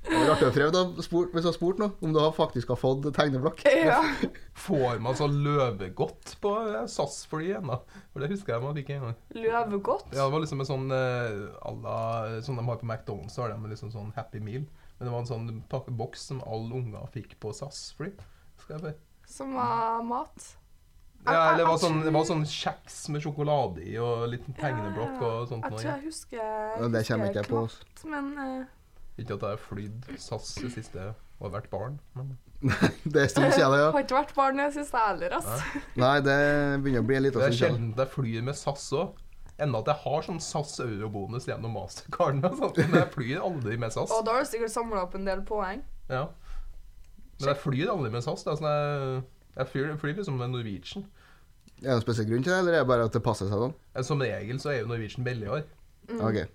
C: Det er artig å prøve da, spurt, hvis du har spurt noe, om du har faktisk har fått tegneblokk.
B: Ja.
A: Får man så løvegodt på eh, SAS-flyet ennå? For det husker jeg man fikk en gang.
B: Løvegodt.
A: Ja, det var liksom en sånn eh, à la Sånn de har på McDonald's, så har de liksom sånn Happy Meal. Men det var en sånn pakke- boks som alle unger fikk på SAS-fly. Skal jeg bare
B: Som var mat. Ah,
A: ja, eller det var,
B: Jeg- jeg-
A: sånn, det var sånn kjeks med sjokolade i og en liten tegneblokk og sånt.
B: Eh, Jeg
A: noe.
B: tror jeg husker
C: Men det kommer
B: husker
C: ikke jeg på. altså.
B: knapt, Men eh,
A: Ikke at jeg har flydd SAS det siste og vært barn, men
C: Det er stort kjede, ja.
B: har ikke vært barn jeg syns jeg heller, altså.
C: Nei, det begynner å bli en
A: det
C: liten sånn
A: er
C: stund siden.
A: sjelden jeg flyr med SAS òg. Enda at jeg har sånn SAS eurobonus gjennom mastercarden. og sånt, Men jeg flyr aldri med SAS.
B: Og da har du sikkert samla opp en del poeng.
A: Ja. Men jeg flyr aldri med SAS. Det er sånn jeg, jeg flyr, flyr liksom med Norwegian.
C: Er det noen spesiell grunn til det, eller er det bare at det passer seg sånn?
A: Eh, Som regel så er jo Norwegian billigere,
B: Mm.
C: Ok.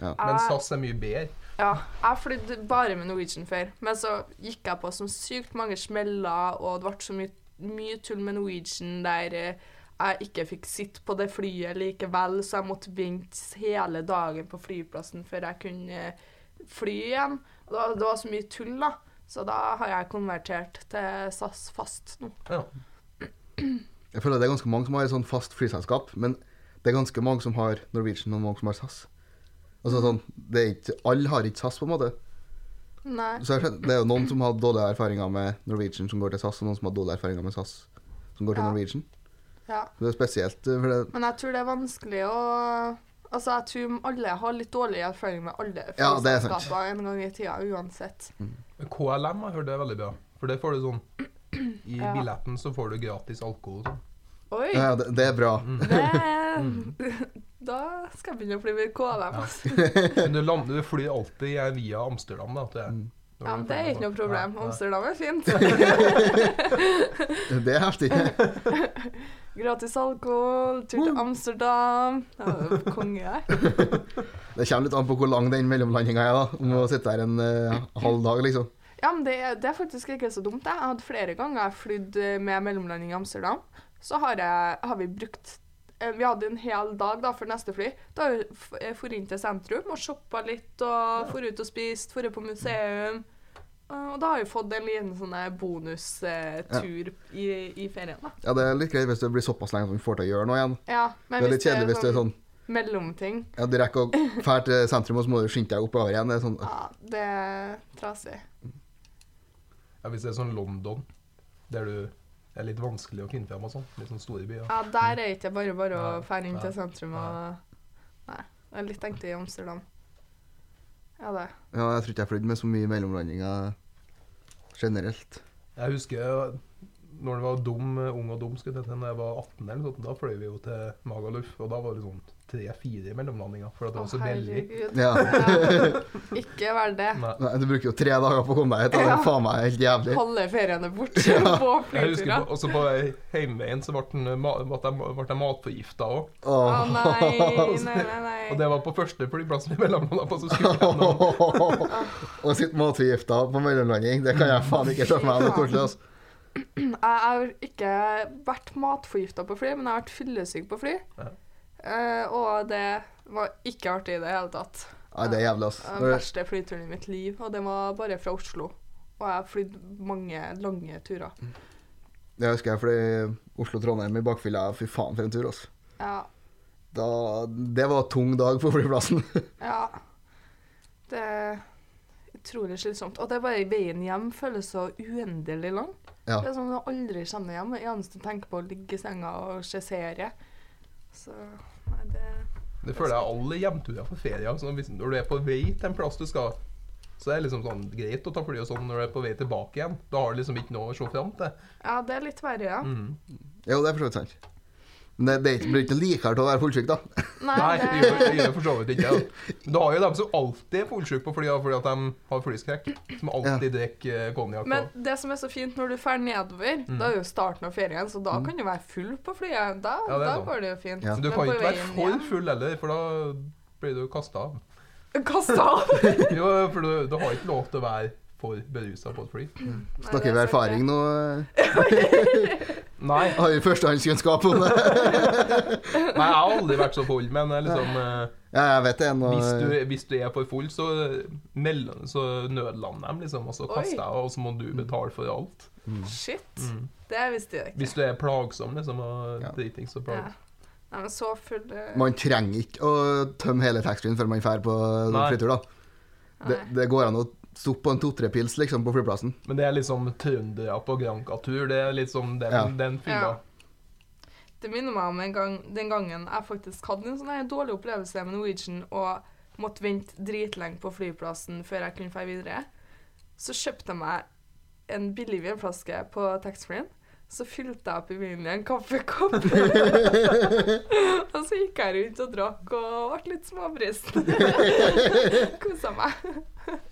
A: men
B: Jeg-
A: SAS er mye bedre.
B: Ja, jeg flydde bare med Norwegian før, men så gikk jeg på som sykt mange smeller, og det ble så mye, mye tull med Norwegian der eh, jeg ikke fikk sitte på det flyet likevel, så jeg måtte vente hele dagen på flyplassen før jeg kunne eh, fly igjen. Og da, det var så mye tull, da. Så da har jeg konvertert til SAS fast nå.
A: Ja.
C: Jeg føler det er ganske mange som har et sånn fast flyselskap, men det er ganske mange som har Norwegian og mange som har SAS.
B: Mm.
C: Altså sånn, det er ikke, Alle har ikke SAS, på en måte.
B: Nei.
C: Så jeg skjønner- det er jo noen som har dårlige erfaringer med Norwegian som går til SAS, og noen som har dårlige erfaringer med SAS som går til
B: Ja.
C: Norwegian.
B: Ja.
C: Det er spesielt, eh, for det,
B: Men jeg tror det er vanskelig å Altså, jeg tror alle har litt dårlig erfaring med alle
C: Ja, det er sant.
B: flyselskaper en gang i tida, uansett.
A: Men KLM har jeg hørt det er veldig bra. For det får du sånn I
B: Ja.
A: billetten så får du gratis alkohol og sånn. Mm.
B: Oi!
C: ja, det, det er bra.
B: Det, da skal jeg begynne å fly med KLM. altså.
A: Men du, land, du flyr alltid eh, via Amsterdam, da. Til,
B: Ja, men det er ikke noe problem.
A: Ja,
B: altså.
A: ja.
B: Amsterdam er fint.
C: Det er heftig.
B: Gratis alkohol, tur til Amsterdam. Ja, det er Konge her.
C: Det kommer litt an på hvor lang den mellomlandinga er, da. Om å sitte her en eh, halv dag, liksom.
B: Ja, men det, er- det er faktisk ikke så dumt. det. Jeg hadde flere ganger jeg flydd eh, med mellomlanding i Amsterdam. Så har, jeg, har vi brukt eh, Vi hadde en hel dag da, for neste fly. Da har vi f- eh, for inn til sentrum og shoppa litt og for ut og spist, for på museum. Eh, Og da har vi fått en liten sånn bonustur i, i ferien, da.
C: Ja, Det er litt greit hvis det blir såpass lenge at man får til å gjøre noe igjen.
B: Ja, men
C: Det er litt kjedelig hvis du er sånn
B: mellomting.
C: ja, Du rekker å dra til sentrum, og så må du skynde deg oppover igjen. Det er sånn,
B: Ja, det er trasig.
A: Ja, hvis det er sånn London, der du det er litt vanskelig å finne fram og sånn. Litt sånn store byer.
B: Ja, der er ikke bare bare å
A: Nei,
B: fære inn
A: nei,
B: til sentrum og Nei. Det er litt tenkt i Amsterdam. Ja, det.
C: Ja, jeg tror ikke jeg flydde med så mye mellomlandinger generelt.
A: Jeg husker eh, når du var dum, eh, ung og dum, skulle jeg til å si, når jeg var 18, eller noe sånt, da fløy vi jo til Magaluf. Og da var det sånn tre-fire mellomlandinger, for at det var så billig.
C: Ja.
B: Ja. Ikke vær det.
A: Nei.
C: Nei, du bruker jo tre dager på å komme deg hit. og Det
B: Ja.
C: er faen meg helt jævlig.
B: Holde feriene borte på
A: Jeg husker
B: flyturer.
A: på- også på vei hjemveien så ble den, eh, ma- ble den, ble den matforgifta òg.
B: Å
C: Åh.
B: nei, nei, nei. nei.
A: Og det var på første flyplassen vi mellomlanda på. Så skulle vi gjennom.
C: Å sitte matforgifta på mellomlanding, det kan jeg faen ikke se for meg. Det er koselig, altså.
B: Jeg har ikke vært matforgifta på fly, men jeg har vært fyllesyk på fly.
A: Ja.
B: Eh, og det var ikke artig i det hele tatt.
C: Nei, det er jævlig, altså.
B: Den
C: Når det-
B: verste flyturen i mitt liv, og den var bare fra Oslo. Og jeg har flydd mange lange turer.
A: Mm.
C: Det husker jeg, fordi Oslo-Trondheim i bakfylla, fy faen for en tur, altså.
B: Ja.
C: Da, det var tung dag på flyplassen.
B: ja. Det er utrolig slitsomt. Og det er bare veien hjem føles så uendelig lang.
C: Ja.
B: Det er sånn at du aldri kommer hjem. Det eneste du tenker på, er å ligge i senga og se serie. Så nei, det
A: Det føler jeg alle hjemturer på ferie. Altså, hvis, når du er på vei til en plass du skal, så er det liksom sånn greit å ta fly og sånn når du er på vei tilbake igjen. Da har du liksom ikke noe å se fram til.
B: Ja, det er litt verre, ja.
A: Mm.
C: Jo, det er for så vidt sant. Men det, det er ikke- blir ikke likere til å være fullsyk, da.
A: Nei, det
B: det-
A: gjør det gjør for så vidt ikke det. Men Du har jo dem som alltid er fullsjuke på flya fordi at de har flyskrekk. Som alltid drikker konjakk.
B: Men
A: og-
B: det som er så fint når du drar nedover,
A: Mm.
B: da er jo starten av ferien, så da kan du være full på flyet. Da,
A: Ja, det er
B: da
A: sant.
B: går det jo fint.
C: Ja.
A: Men du
B: Men
A: kan
B: på
A: ikke være
B: veien
A: for
B: hjem-
A: full heller, for da blir du kasta av.
B: Kasta av!
A: Jo, for du, du har ikke lov til å være for berusa på et fly.
C: Snakker vi erfaring nå? eh,
A: Nei,
C: Har vi førstehåndskunnskap om det?
A: Nei, jeg har aldri vært så full, men eh, liksom eh,
C: Ja, jeg vet det. Nå,
A: Hvis du, hvis du er for full, så, mellom, så nødlander dem, liksom. Og så
B: Oi.
A: kaster jeg, og så må du betale for alt.
B: sånn- Shit.
A: Mm.
B: Det visste jeg ikke.
A: Hvis du er plagsom, liksom, og
C: Ja.
A: driting, så
B: Ja.
A: plagsom.
B: Nei, men så full eh,
C: Man trenger ikke å tømme hele taxfree-en før man drar på
A: Nei.
C: flytur, da. Det,
B: Nei.
C: det går an å stoppe på en to-tre pils liksom, på flyplassen.
A: Men det er liksom trøndere på Granca-tur. Det er liksom den,
C: Ja.
A: den fylla.
B: Ja. Det minner meg om en gang, den gangen jeg faktisk hadde en sånn her dårlig opplevelse med Norwegian og måtte vente dritlenge på flyplassen før jeg kunne dra videre. Så kjøpte jeg meg en billig vinflaske på taxfree-en. Så fylte jeg opp i vinen i en kaffekopp. og så gikk jeg rundt og drakk og ble litt småbrisen. Kosa meg.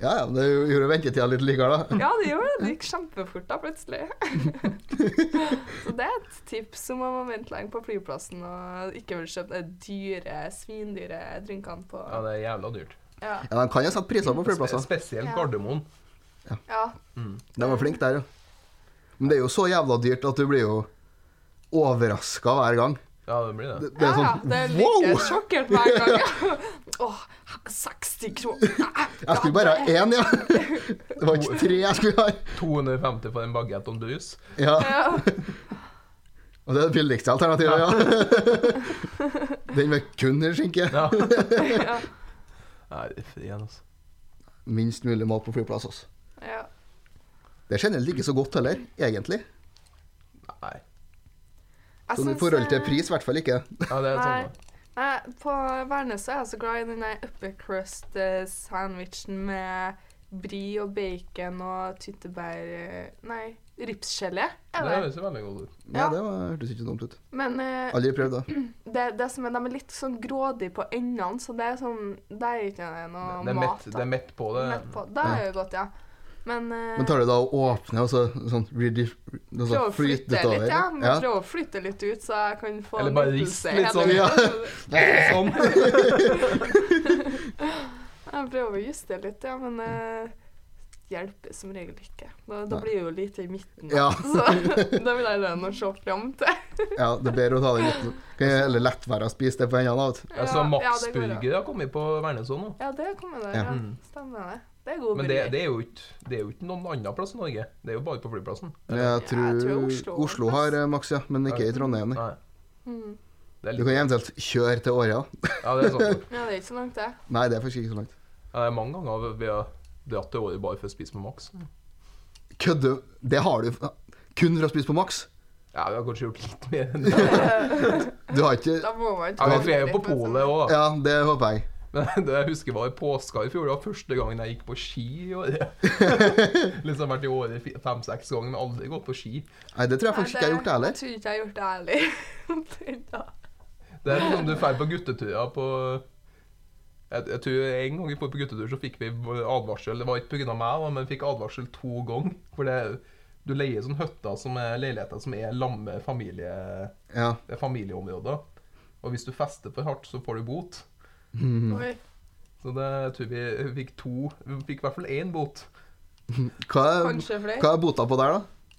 C: Ja, ja, men det gjorde ventetida litt likere, da.
B: Ja, det gjorde det. Det gikk kjempefort da, plutselig. Så det er et tips om man må vente lenge på flyplassen og ikke vil kjøpe de dyre, svindyre drinkene på
A: Ja, det er jævla dyrt.
B: Ja.
C: Ja, De kan jo sette priser på
A: Spe
C: flyplasser.
A: spesielt
B: Ja.
A: Gardermoen.
B: ja.
C: De var flinke der, jo. Men det er jo så jævla dyrt at du blir jo overraska hver gang.
A: Ja, det blir
C: Det,
A: det.
C: det er
B: ja, ja,
C: sånn
B: det er like
C: wow!
B: sjokkert hver gang. Åh, 60 kroner.
C: Jeg skulle bare ha én, ja. Det var ikke tre jeg skulle ha.
A: 250 for en bagett og en brus.
C: Ja,
B: Ja.
C: Og det er det billigste alternativet, ja. Den med kun skinke.
A: Ja.
B: Ja.
A: Nei, det er fri igjen, altså.
C: Minst mulig mat på flyplass, altså.
B: Ja.
C: Det er generelt ikke så godt heller, egentlig.
A: Nei.
B: Jeg
C: Sånn i
B: syns,
C: forhold til
B: eh,
C: pris, i hvert fall ikke.
A: Ja, det er
B: Nei.
A: sånn. da.
B: Nei, på Værnes så er jeg så glad i den der upper crust eh, sandwichen med brie og bacon og tyttebær eh, Nei, ripsgelé. er
A: Det
B: det.
A: høres jo veldig godt ut.
C: Nei,
B: Ja.
C: det var, hørtes ikke dumt ut.
B: Men eh,
C: Aldri prøvd, da.
B: det, det som er, de er litt sånn grådige på endene, så det er sånn Det er ikke noe
A: Det er
B: mat.
A: mett, det er mett på det.
B: Mett på. Det er jo godt, ja. Men, eh,
C: Men tar du da og åpner, og så sånn redif... og så
B: prøve å
C: flytter
B: flytte
C: det
B: litt, ja. Må
C: ja.
B: Prøve å flytte litt ut, så jeg kan få
A: Eller bare
B: nytelse
A: rist litt
B: hele
A: sånn, ja.
B: tiden.
A: Sånn.
B: Jeg prøver å justere litt, ja, men eh, hjelper som regel ikke. Da, da
C: Nei.
B: blir jeg jo lite i midten.
C: Ja.
B: Så da vil jeg lønne å se fram til.
C: ja, det er bedre å ta det litt Kan jeg heller lett være å spise det på hendene. da, vet du.
A: Altså, Max
B: det går an.
A: Burger har kommet på Værnesån nå.
B: Ja, det kommer der,
C: Ja.
B: ja.
A: Mm.
B: Stemmer det. Det er god
A: Men det,
B: burger.
A: det, er jo ikke, det er jo ikke noen annen plass i Norge. Det er jo bare på flyplassen.
C: Men jeg
B: jeg
C: tror,
B: tror
C: Oslo,
B: Oslo-
C: har eh, Max, ja, men ikke i Trondheim. nei.
A: Nei.
B: Mm.
A: Det er
C: Du
A: litt,
C: kan eventuelt kjøre til Årja.
A: ja, det er sånn.
B: Ja, det er ikke så langt, det.
C: Nei, det er faktisk ikke så langt.
A: Ja, det er mange ganger vi har dratt til året bare for å spise på Max.
B: Mm.
C: Kødde Det har du kun for å spise på Max.
A: Ja, vi har kanskje gjort litt mer enn det.
C: Du har ikke
B: Da må man sånn
A: Ja, vi er jo på polet òg, da.
C: Ja, det håper jeg.
A: Men det jeg husker var i påska i fjor. Det var første gangen jeg gikk på ski i året. liksom vært i året fi- fem-seks ganger, men aldri gått på ski.
C: Nei, det tror jeg faktisk ikke jeg har gjort det
B: Jeg
C: heller.
B: tror ikke jeg har gjort det heller. Omtrent da.
A: Det er liksom du drar på gutteturer på jeg, jeg tror En gang vi var på guttetur, så fikk vi advarsel. Det var ikke pga. meg, da, men vi fikk advarsel to ganger. For det, du leier sånne hytter som er leiligheter som er lamme familie,
C: Ja.
A: familieområder. Og hvis du fester for hardt, så får du bot.
C: Mm.
B: Oi.
A: Så det jeg tror vi fikk to Vi fikk i hvert fall én bot.
C: Hva er,
B: Kanskje flere.
C: Um, hva er bota på der, da?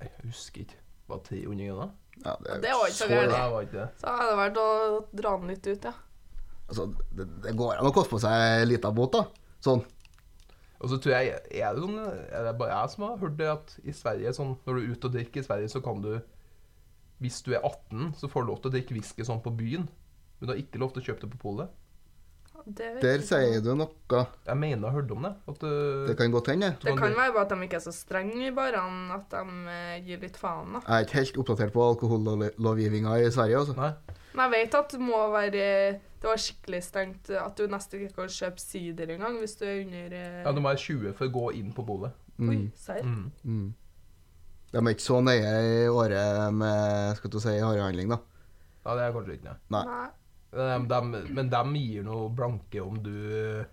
A: Nei, Jeg husker ikke. Var det 300 kroner?
C: Ja,
B: Det var ikke så
A: Nei,
B: gærent.
A: det var ikke det.
B: Så hadde det vært å dra den litt ut, ja.
C: Altså, det, det går an å koste på seg ei lita båt, da. Sånn.
A: Og så tror jeg, er det, sånn, er det bare jeg som har hørt det at i Sverige, sånn, når du er ute og drikker i Sverige, så kan du, hvis du er 18, så får du lov til å drikke whisky sånn på byen. Men du har ikke lov til å kjøpe det på polet.
B: Det, vet
C: Der
B: jeg ikke.
C: sier du noe.
A: Jeg mener jeg har hørt om det. At eh, du-
C: Det kan godt hende. det.
A: du
B: det kan
A: drikke-
B: være bare at de ikke er så strenge i barene, at de eh, gir litt faen, da.
C: Jeg er ikke helt oppdatert på alkohollovgivninga i Sverige, altså.
A: Nei.
B: Men jeg vet at det må være Det var skikkelig strengt eh, at du nesten ikke kan kjøpe sider engang hvis du er under eh,
A: Ja, du må være 20 for å gå inn på polet.
B: Oi,
C: Mm.
B: serr.
A: Mm.
C: De er ikke så nøye i året med skal du si, harehandling, da.
A: Ja, det er kanskje ikke det.
C: Nei.
B: Nei.
A: Dem- dem- Men de gir noe blanke om du eh,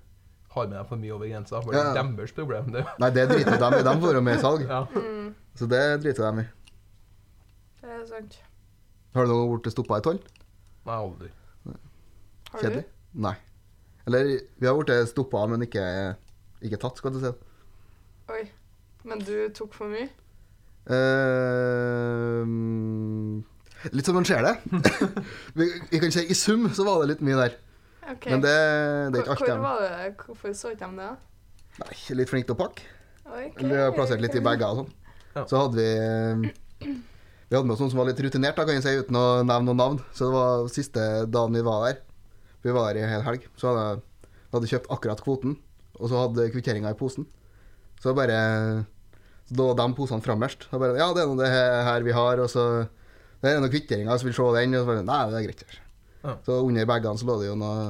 A: har med deg for mye over grensa. For det
C: Ja.
A: er deres problem, det.
C: Nei, det driter de i. De får jo mer salg.
A: Ja.
C: Så det driter de i.
B: mm, Det er sant.
C: Har du noen blitt stoppa i toll?
A: Nei, aldri.
B: Har
C: Kjedelig? Nei. Eller vi har blitt stoppa, men ikke, ikke tatt, skal du si.
B: du? Oi. Men du tok for mye?
C: Eh, litt som man ser det. vi, vi kan si I sum så var det litt mye der.
B: OK.
C: Men det, det er
B: Hvor- Hvor
C: ikke alt de
B: var det? Hvorfor så ikke de det? da?
C: Nei, Litt flinke til å pakke.
B: Ok.
C: Eller har plassert litt i bager og sånn.
A: Ja.
C: Så hadde vi eh, Vi hadde med oss noen som var litt rutinert, da, kan jeg si, uten å nevne noen navn. Så det var siste dagen vi var der. Vi var der i en hel helg. Så hadde jeg hadde jeg kjøpt akkurat kvoten, og så hadde kvitteringa i posen. Så bare Så lå de posene framerst. Og bare Ja, det er nå det her vi har, og så Det er noen kvitteringer, så vil vi se den, og så bare Nei, det er greit. her».
A: Ja.
C: Så under bagene så lå det jo noe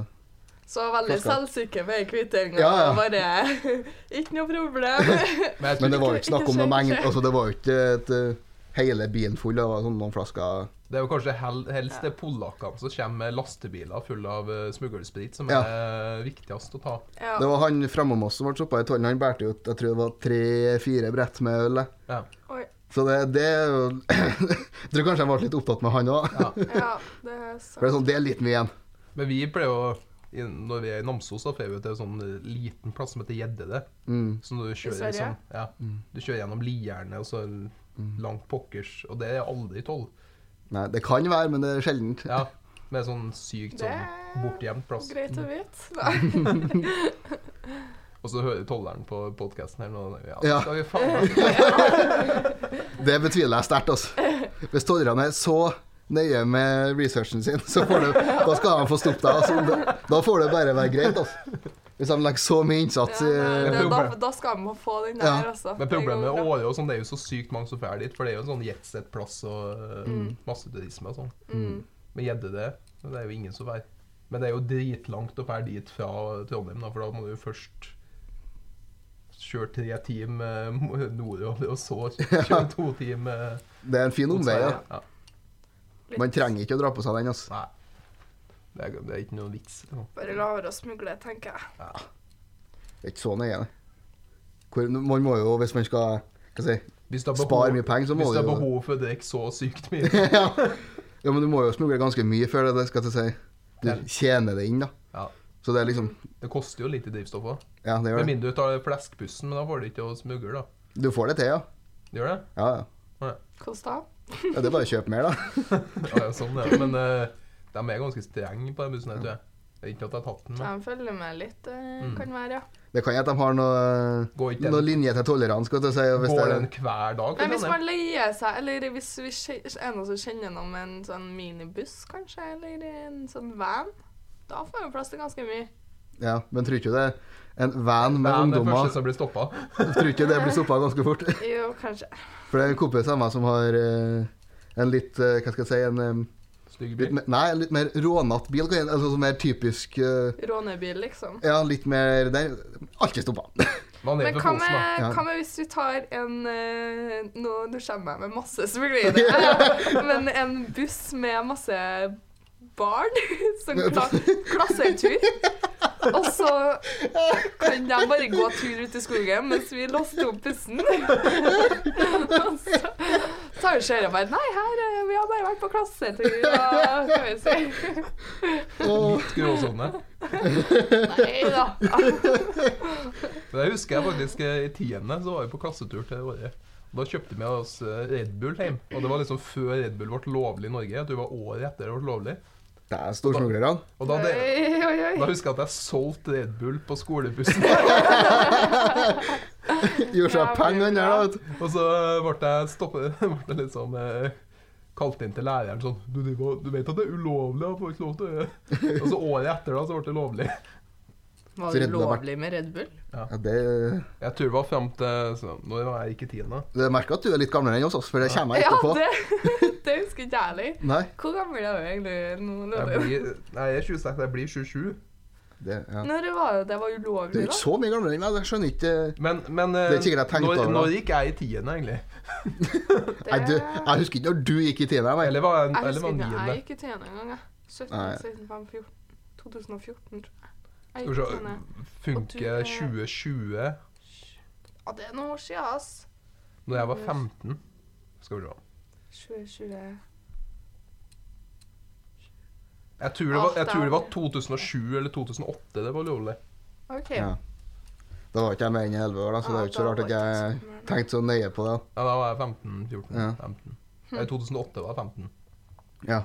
B: Så veldig
C: Klokka.
B: selvsikker med kvitteringa.
C: Ja, ja.
B: Bare ikke noe problem.
A: Men jeg tror
C: Men det var jo
B: Ikke-
C: ikke snakk om
B: ikke
C: noe
B: skjønt,
C: mengde.
B: ikke.
C: Altså, det var jo ikke et, eh, hele bilen full, det var sånn noen flasker
A: Det er jo kanskje hel, helst det er polakkene som kommer med lastebiler fulle av eh, smuglersprit, som
C: Ja.
A: er viktigst å ta.
B: ja.
C: Det var han framom oss som ble stoppa i tollen. Han bærte ut jeg tror det var tre-fire brett med øl. jeg.
A: Ja.
B: Oi.
C: Så det, det er jo Jeg tror kanskje jeg ble litt opptatt med han òg.
A: Ja.
B: Ja, det er
C: For det
B: sant.
C: er sånn, det er litt mye igjen.
A: Men vi pleier å i- Når vi er i Namsos, da får vi til en sånn eh, liten plass som heter Gjeddede.
C: Mm.
A: Som du kjører,
B: Sverige?
A: sånn, ja, du kjører gjennom Lierne og så
C: Mm.
A: langt pokkers. Og det er aldri tolv.
C: Nei, det kan være, men det er sjeldent.
A: Ja, med sånn sykt
B: Det
A: sånn
B: er
A: bortgjemt
C: sånn
A: plass.
B: Greit å vite.
C: Mm.
B: Nei.
A: Og så hører tolleren på podkasten her nå. og Ja,
C: Ja.
A: Skal vi faen meg
C: Det betviler jeg sterkt, altså. Hvis tollerne er så nøye med researchen sin, så får du, da skal de få stoppe deg. Altså. Da- Da får det bare være greit, altså. Hvis de legger så mye innsats i
B: Ja,
A: det-
B: nei, da, da skal vi få den der,
C: eh, Ja.
B: altså.
A: Men
B: Det går
A: problemet med
B: bra.
A: Åre og sånn, det er jo så sykt mange som drar dit. For det er jo en sånn jetset-plass og mm. masseturisme og sånn.
B: Mm.
A: Men gjedde det. Men det er jo ingen som veit. Men det er jo dritlangt å fære dit fra Trondheim, da, for da må du jo først kjøre tre timer eh, nordover, og så kjøre to timer eh,
C: Det er en fin
A: mot
C: omvei. Ja.
A: Sverige. Ja.
B: Litt.
C: Man trenger ikke å dra på seg den, altså.
A: Nei. Det er, det er ikke noen vits. liksom.
B: Bare la være å smugle, tenker jeg.
C: Det er ikke så nøye. det. Hvor, man må jo, hvis man skal hva skal jeg si,
A: Hvis du har
C: spare mye penger, så må
A: hvis du
C: du
A: har
C: jo
A: behov for å drikke så sykt mye.
C: ja. ja, men du må jo smugle ganske mye før det, det skal jeg til å si. Du tjener det inn, da.
A: Ja.
C: Så det er liksom
A: Det koster jo litt i drivstoff òg.
C: Ja, det
A: Med
C: gjør det.
A: mindre du tar fleskbussen, men da får du ikke å smugle, da.
C: Du får det til, ja.
A: Det gjør det?
C: Ja, ja.
B: Hvordan da?
C: ja det er bare å kjøpe mer, da.
A: Ja, det er sånn, det er. Men eh, de er ganske strenge på den bussen, her, tror jeg. Det er ikke at jeg har tatt den, men
B: Jeg følger med litt, eh,
A: Mm.
B: kan være, ja.
C: Det kan jo at de har noe,
A: Går ikke den-
C: noe linje til tollerne, skal jeg til å si. og Hvis
A: går
C: det,
A: den hver dag? liksom? for
B: Men hvis
A: den,
B: man leier seg, eller hvis vi kje- er noen som kjenner noen med en sånn minibuss, kanskje, eller en sånn van, da får vi plass til ganske mye.
C: ja, men tror ikke det er en van med
A: Nei, det
C: ungdommer
A: første som blir stoppa.
C: Tror ikke det blir stoppa ganske fort.
B: Jo, kanskje.
C: For det er en kompis av meg som har eh, en litt eh, Hva skal jeg si en, eh,
A: Stygg
C: Litt,
A: bil.
C: mer- nei, litt mer rånatt bil. kan jeg- Altså sånn mer typisk eh,
B: Rånebil, liksom.
C: Ja, litt mer der. Alltid stoppa.
A: Man er
B: Men
A: for
B: hva
A: kosen, da.
B: med,
C: Ja.
B: hva med hvis vi tar en eh, Nå, nå kommer jeg med masse, så blir det det. Men en buss med masse barn som kla klassetur. Og så kan de bare gå tur ut i skogen mens vi låste opp bussen. Og så tar vi kjøret og bare Nei, her, eh, vi har bare vært på klassetur, og hva vi si.
C: Og
A: Litt gråsone.
B: Nei da.
A: Men jeg husker jeg faktisk eh, i tiende så var vi på klassetur til Åre. Da kjøpte vi oss eh, Red Bull hjem. Og det var liksom før Red Bull ble lovlig i Norge. Jeg tror det var året etter det ble lovlig.
C: det er storsmuglerne.
A: Og da, hadde,
B: Oi, oi, oi.
A: da husker jeg at jeg solgte Red Bull på skolebussen.
C: Gjorde
B: Ja,
C: seg penger han der, da. vet du.
A: Og så eh, ble jeg stoppet ble jeg litt sånn eh, Kalt inn til læreren sånn du, driver- du vet at det er ulovlig? Jeg får ikke lov til å gjøre det.» Og så året etter da, så ble det lovlig.
B: Var
C: Så
B: det
C: redden har vært-
B: lovlig med Red Bull?
C: Ja, det,
A: Jeg tror det var frem til så, Når var jeg gikk i tiende?
C: det merker at du er litt gamlere enn oss, altså, for det kommer jeg
B: Ja,
C: etterpå.
B: det, det husker ikke jeg heller.
C: Nei,
B: Hvor gammel er du egentlig nå?
A: Jeg
B: Loven?
A: blir, nei, jeg er 26. Jeg blir 27.
C: det, ja.
B: Når var det det var
C: Du er
B: ulovlig,
C: ikke
B: da?
C: så mye gamlere enn meg. altså. Jeg skjønner ikke
A: Men, men eh,
C: Det er ikke sikkert jeg tenkte
A: når,
C: over det.
A: når gikk jeg i tiende, egentlig?
B: Det,
C: Nei, du, Jeg husker ikke når du gikk i tiende. nei.
A: Eller var jeg,
B: jeg
A: eller
B: husker
A: var
B: ikke, jeg
A: niende?
B: gikk i TN en gang, jeg. 17,
C: Nei.
B: 16, 15, 14, 2014, tror jeg. jeg.
A: Skal
B: gikk
A: vi
B: i
A: se
B: TN.
A: Funker 2020
B: Ja, det er noen år siden, ass.
A: når jeg var 15? Skal vi se.
B: 2020
A: Jeg tror det var, jeg tror det var 2007 eller 2008 det var lovlig.
B: OK.
C: Ja. Da var ikke jeg mer enn 11 år, da, så det er jo ikke så rart at jeg tenkte så nøye på det. da.
A: Ja, da var jeg 15, 14,
C: Ja.
A: 15. Nei, 2008 var jeg 15.
C: Ja.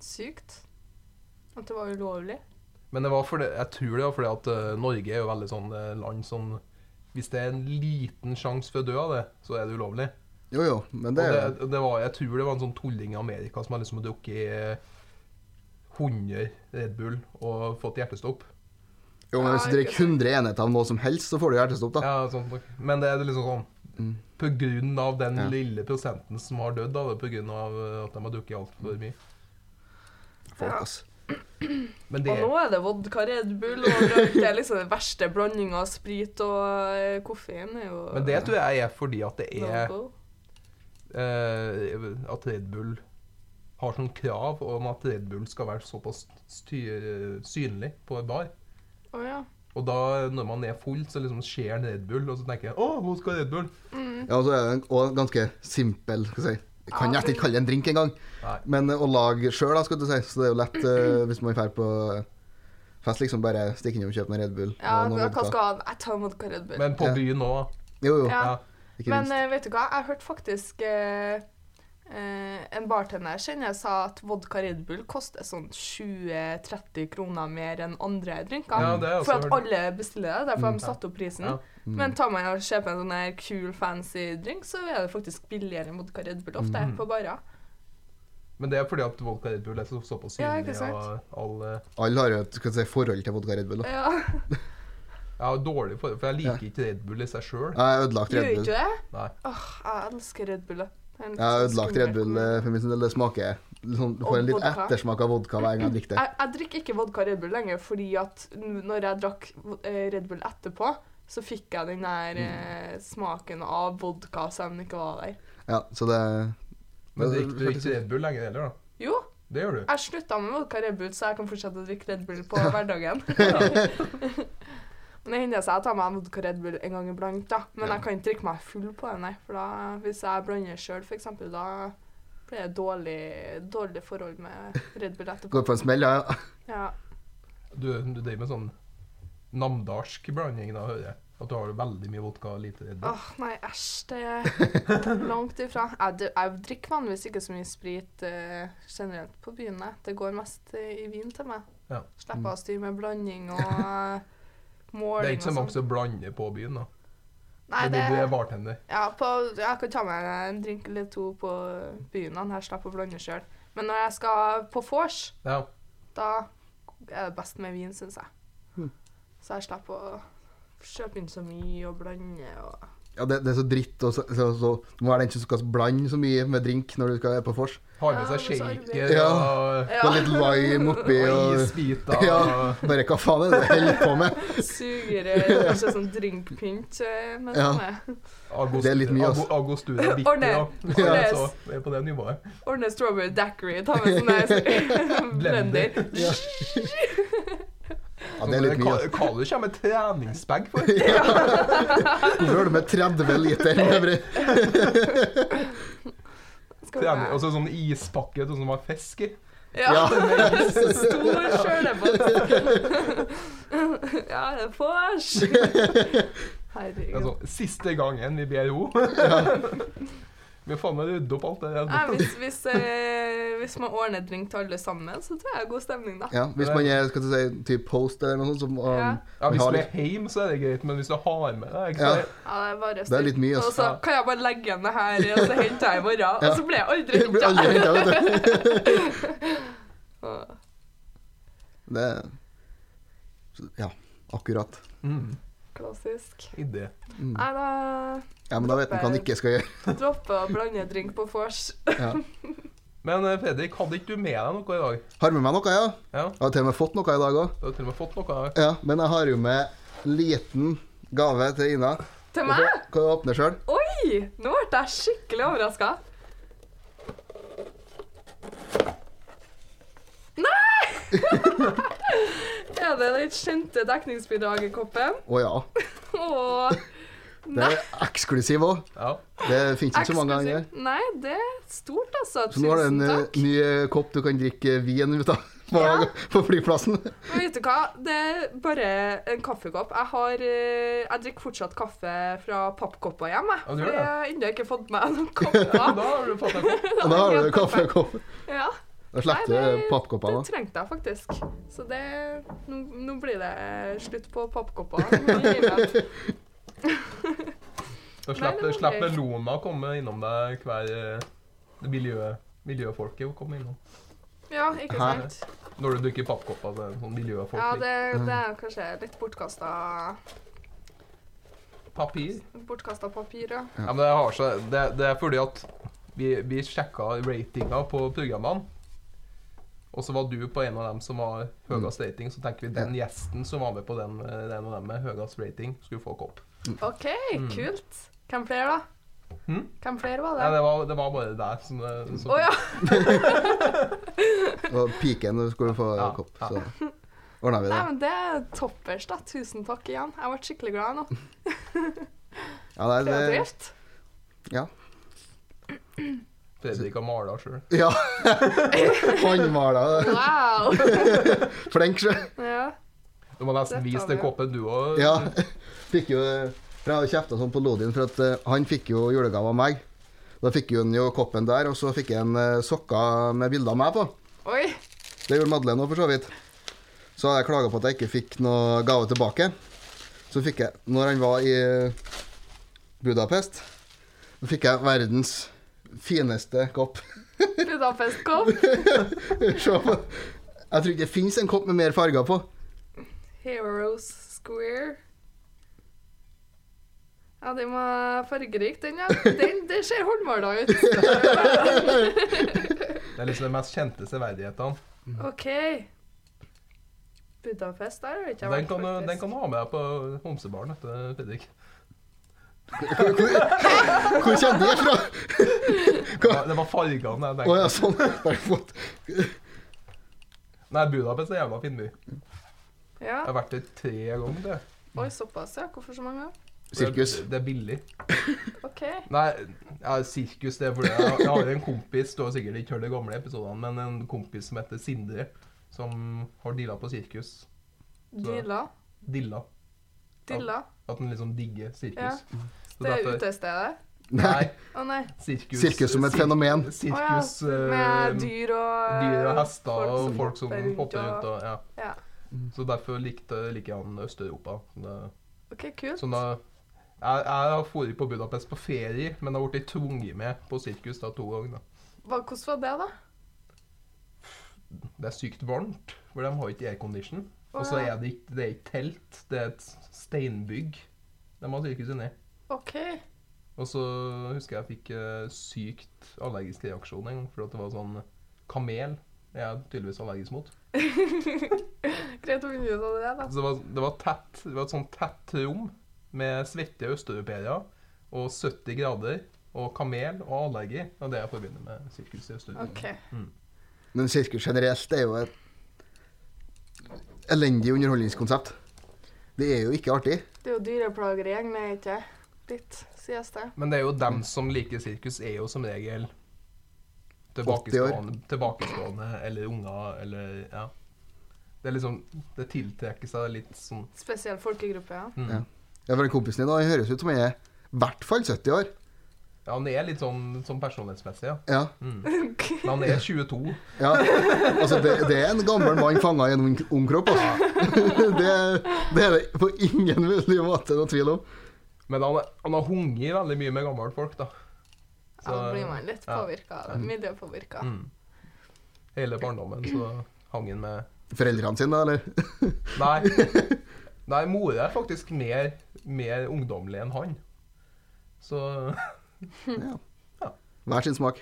B: Sykt. At det var ulovlig.
A: Men det var fordi, jeg tror det var fordi at eh, Norge er jo veldig sånn eh, land som Hvis det er en liten sjanse for å dø av det, så er det ulovlig.
C: Jo, jo, men
A: Og
C: det er jo
A: det, det var, jeg tror det var en sånn tulling i Amerika som hadde liksom drukket eh, 100 Red Bull og fått hjertestopp.
C: Jo, men hvis du drikker 100 enheter av noe som helst, så får du hjertestopp, da.
A: Ja, sånn, nok. Men det er liksom sånn
C: Ah. Mm.
A: På grunn av den
C: Ja.
A: lille prosenten som har dødd av det, på grunn av eh, at de har drukket altfor mye.
C: Folk, ass.
A: Men det
B: Og nå er det vodka Red Bull overalt. Det er liksom den verste blandinga av sprit og eh, koffein. er jo
A: Men det tror jeg er fordi at det er
B: no-go.
A: eh, At Red Bull har sånn krav om at Red Bull skal være såpass sty- synlig på en bar.
B: Å ja.
A: Og da, når man er full, så liksom skjer en Red Bull, og så tenker jeg 'Å, hvor skal Red Bull?'
C: Ja, og så er det en- og ganske simpel, skal jeg si. Jeg kan nesten ikke kalle det en drink engang.
A: Nei.
C: Men eh, å lage sjøl, da, skal du si. Så det er jo lett eh, hvis man drar på fest, liksom bare stikke innom og kjøpe noen Red Bull.
B: ja
C: og noe
B: hva skal
C: vodka.
B: han? Jeg tar vodka Red Bull.
A: Men på
C: Ja.
A: byen nå
C: Jo, jo.
B: Ja.
C: Ikke
B: Men
C: minst.
B: eh, vet du hva, jeg hørte faktisk eh, eh, en bartender jeg kjenner sa at vodka Red Bull koster sånn 20-30 kroner mer enn andre drinker.
A: Ja, det har jeg
B: for
A: også
B: at
A: hørt.
B: alle bestiller det, derfor har
C: Mm.
B: de satte opp prisen.
A: Ja.
B: eh,
C: Mm.
B: Men tar man og kjøper en sånn her kul, fancy drink, så er det faktisk billigere enn vodka Red Bull ofte
A: Mm.
B: på barer.
A: Men det er fordi at vodka Red Bull er så, såpass
B: Ja,
A: synlig,
B: ikke sant?
A: og all eh,
C: Alle har jo et skal jeg si, forhold til vodka Red Bull. Da.
B: Ja,
A: Jeg har dårlig forhold, for jeg liker ikke Red Bull i seg sjøl.
C: Jeg har ødelagt
B: Gjør
C: Red
B: ikke
C: Bull.
B: du det?
A: Nei.
B: Åh, jeg elsker Red Bull. Det er en litt
C: Jeg har
B: sånn
C: ødelagt
B: skummel
C: Red Bull eh, for min sin del. Det smaker liksom, Du
B: Og
C: får en litt
B: vodka.
C: ettersmak av vodka hver gang jeg drikker det.
B: Jeg, jeg drikker ikke vodka Red Bull lenger, fordi at n- når jeg drakk eh, Red Bull etterpå, så fikk jeg den der eh, smaken av vodka selv om den ikke var der.
C: Ja, så det
A: Men
C: det-
A: drikker du ikke Red Bull lenger heller, da?
B: Jo,
A: Det gjør du.
B: jeg slutta med vodka Red Bull, så jeg kan fortsette å drikke Red Bull på hverdagen. Men det hender seg at jeg tar meg en vodka Red Bull en gang iblant, da. Men
C: Ja.
B: jeg kan ikke drikke meg full på den, nei. For da, hvis jeg blander sjøl, f.eks., da blir det dårlig, dårlig forhold med Red Bull etterpå.
C: går på en smell, ja. ja.
B: Ja.
A: Du, du driver med sånn namdalsk blanding, da, hører jeg. At du har veldig mye vodka og lite Red Bull.
B: Åh, nei, æsj. Det er langt ifra. Jeg, dri- jeg drikker vanligvis ikke så mye sprit eh, generelt på byen. jeg. Det går mest eh, i vin til meg.
A: Ja. Mm.
B: Slipper å styre med blanding og eh,
A: det er
B: måling
A: ikke så mange
B: og sånn.
A: som blander på byen, da.
B: Nei,
A: Men
B: det,
A: du, du er bartender.
B: ja, på, jeg kan ta meg en drink eller to på byen. da. Jeg slipper å blande sjøl. Men når jeg skal på vors,
A: Ja.
B: da er det best med
A: Hm.
B: vin, syns jeg.
C: Mm.
B: Så jeg slipper å kjøpe inn så mye og blande og
C: Ja, det, det er så dritt. Og så, så, så, du må være den som skal blande så mye med drink når du skal være på vors.
A: Har med
B: Ja,
A: seg
B: og så
A: shaker
B: arbeid.
A: og,
C: Det er litt lime oppi
A: og
C: og
A: isbiter.
C: Ja,
A: og-
C: bare hva faen er det du holder på med?
B: Sugere, kanskje sånn drinkpynt. eh, Men
C: Ja.
B: sånn er.
A: August,
C: Det er litt mye, altså. ass.
A: Ago- Angostura bitter
B: Ordne.
A: og
B: Ordnes.
A: så vi er på det nivået.
B: Ordne strawberry daiquiri. Ta med sånn der
A: Blender.
B: blender.
C: Ja. ja, det
A: Sånn
C: er litt mye. ass.
A: Hva- Hva du kommer med treningsbag for?
C: Ja. Hvorfor har du med 30 liter? med brød?
B: Skal vi
A: Trening,
B: ha-
A: altså sånn ispakke sånn som har fisk i.
B: Ja.
C: Ja.
B: Stor sjølebåt. Ja, det er vors.
A: Det er
B: Herregud.
A: sånn, siste gangen vi ber ro. Vi får faen meg rydde opp alt det
B: Nei,
A: der.
B: hvis, hvis, eh, hvis man ordner drink til alle sammen, så tror jeg det er god stemning, da.
C: Ja, hvis man er skal du si, typ host eller noe sånt, så må
B: Ja.
A: Ja, hvis
C: har
A: du
C: litt-
A: er hjemme, så er det greit, men hvis du har med deg ikke,
C: Ja.
A: så er-
B: Ja, det er bare
C: Det er litt mye, altså. ass.
B: Og så kan jeg bare legge igjen det her, og så henter jeg i morgen. Og så blir jeg aldri
C: Det blir aldri
B: henta.
C: hentet, vet du.
B: Åh.
C: Det er- så- Ja, akkurat.
A: mm,
B: Klassisk.
A: idé.
C: Mm.
B: Nei, da
C: Ja, men da vet man hva man ikke skal gjøre.
B: dropper jeg å blande drink på vors.
C: Ja.
A: Men eh, Fredrik, hadde ikke du med deg noe i dag?
C: Har med meg noe, ja.
A: Ja,
C: Jeg har til og med fått noe i dag òg.
A: Du har til og med fått noe? ja.
C: Ja, men jeg har jo med liten gave til Ina.
B: Til
C: Kan
B: meg?
C: du åpne sjøl?
B: Oi! Nå ble jeg skikkelig overraska. Nei! er det den kjente dekningsbidragerkoppen?
C: Å ja.
B: Åh.
C: Det er eksklusiv òg.
A: Ja.
C: Det fins ikke så mange
B: Eksklusiv.
C: ganger.
B: Nei, det er stort, altså.
C: Så nå har du en
B: Tusen
C: eh,
B: takk.
C: ny eh, kopp du kan drikke vin ut av på,
B: Ja.
C: på flyplassen.
B: Men vet du hva? Det er bare en kaffekopp. Jeg har eh, Jeg drikker fortsatt kaffe fra pappkopper hjemme.
A: Ja, du gjør
B: for
A: det.
B: jeg har ennå ikke fått meg noen kopper.
A: Da har du fått deg kopp.
C: Og da har du kaffekopp.
B: ja,
C: Da slipper
B: Nei,
C: du
B: det- det
C: pappkoppene.
B: trengte jeg faktisk. Så det Nå, nå blir det slutt på pappkopper. i livet.
A: Da
B: Nei, det var
A: slipper slipper
B: gøy.
A: Lona å komme innom deg hver eh, det miljø, miljøfolket å komme innom.
B: Ja, ikke
C: Hæ?
B: sant?
A: Når du drikker pappkopper til sånn miljøfolk.
B: Ja, det,
C: Mm.
B: det er kanskje litt bortkasta
A: Papir.
B: Bortkasta papir, ja.
A: Ja, men det, har seg, det, det er fordi at vi, vi sjekka ratinga på programmene. Og så var du på en av dem som har
C: Mm.
A: høyest rating. Så tenker vi den gjesten som var med på den, eh, den og den med høyest rating, skulle få kopp.
C: Mm.
B: OK, kult. Hvem flere, da?
A: Hm?
B: Hvem flere var
A: Nei,
B: det?
A: det var, det var bare der. Som, det- som,
B: Å ja.
C: Og piken du skulle få
A: Ja,
C: kopp.
A: ja.
C: Så ordner vi
B: Nei,
C: det.
B: men det er toppers, da. Tusen takk igjen. Jeg ble skikkelig glad nå.
C: Ja, nei, det,
B: Kreativt.
A: Fredrik har mala sjøl.
C: ja. Håndmala.
B: Wow!
C: Flink, sjø.
B: Ja.
A: Du må nesten
B: Dette
A: vise
B: har vi
A: den
B: jo.
A: koppen du òg.
C: Ja. Fikk jo For jeg har jo kjefta sånn på Lodin, for at eh, han fikk jo julegave av meg. Da fikk hun jo koppen der, og så fikk jeg en eh, sokker med bilde av meg på.
B: Oi.
C: Det gjorde Madeleine òg, for så vidt. Så hadde jeg klaga på at jeg ikke fikk noe gave tilbake. Så fikk jeg, når han var i Budapest, så fikk jeg verdens fineste kopp.
B: Budapest-kopp.
C: Se på Jeg tror ikke det fins en kopp med mer farger på.
B: Heroes Square. Ja, den var fargerik, den, ja. Den, det ser håndmala ut.
A: Det er liksom de mest kjente severdighetene.
B: OK. Budapest, der har jeg ikke
A: Den
B: vært,
A: kan, du- den
B: faktisk.
A: kan du ha med deg på homsebaren etter Fredrik.
C: Hvor, hvor, hvor kommer det fra?
A: Det var- det var fargene jeg
C: Å
A: tenkte.
C: ja, sånn. Har du fått-
A: Nei, Budapest er en jævla fin by. Jeg
B: Ja.
A: har vært der tre ganger. tror jeg.
B: Oi, såpass, ja. Hvorfor så mange?
C: Sirkus.
A: Det, det er billig.
B: OK.
A: Nei, ja, sirkus det er fordi jeg, jeg har en kompis Du har sikkert ikke hørt de gamle episodene, men en kompis som heter Sindre, som har dilla på sirkus.
B: Dilla.
A: Dilla.
B: Dilla.
A: At han liksom digger
B: Ja.
A: sirkus. Så
B: Det er
A: derfor-
B: utestedet.
C: Nei.
A: Nei,
B: Å nei.
A: sirkus
C: Sirkus som et
A: sir-
C: fenomen.
A: Sirkus
B: Å ja,
A: eh,
B: Med dyr og
A: dyr og hester
B: folk
A: og
B: som
A: folk som
B: hopper rundt
A: hopper
B: og-
A: rundt og Ja.
B: Ja.
A: Så derfor likte, liker han Øst-Europa. Så det-
B: OK, kult.
A: Sånn da jeg, jeg har vært på Budapest på ferie, men har blitt tvunget med på sirkus da to ganger. da.
B: Hva, hvordan var det, da?
A: Det er sykt varmt, for de har ikke aircondition.
B: Å,
A: Og så
B: ja.
A: er det ikke, det er ikke telt, det er et steinbygg de har sirkuset ned.
B: OK.
A: Og så husker jeg jeg fikk eh, sykt allergisk reaksjon en gang, for at det var sånn Kamel er jeg tydeligvis allergisk mot.
B: Greit å finne ut av det, da.
A: Så det var, det var tett, det var et sånn tett rom med svette østeuropeere og 70 grader og kamel og allergi. Det er det jeg forbinder med sirkus i Øst-Europa.
B: OK.
C: Men sirkus generelt er jo et elendig underholdningskonsept. Det er jo ikke artig.
B: Det er jo dyreplageri jeg med, ikke Litt, sies det.
A: Men det er jo dem som liker sirkus, er jo som regel
C: 80 år.
A: tilbakestående, tilbakestående eller unger eller ja. Det er liksom Det tiltrekker seg litt sånn
B: Spesiell folkegruppe, ja.
A: mm.
C: Ja. Ja, for den Kompisen din da, han høres ut som han er i hvert fall 70 år.
A: Ja, han er litt sånn, sånn personlighetsmessig, ja.
C: Ja,
A: Mm. Men han er 22.
C: ja. Altså, det, det er en gammel mann fanga i en ung, ung kropp. Altså. Det, det er det på ingen mulig måte noe tvil om.
A: Men han, han har hunget veldig mye med gamle folk, da.
B: Da blir man litt
A: ja.
B: påvirka av det. Miljøpåvirka.
A: Mm. Hele barndommen så hang han med
C: Foreldrene sine, da, eller?
A: Nei. Nei, mora er faktisk mer, mer ungdommelig enn han. Så
C: Hver sin smak.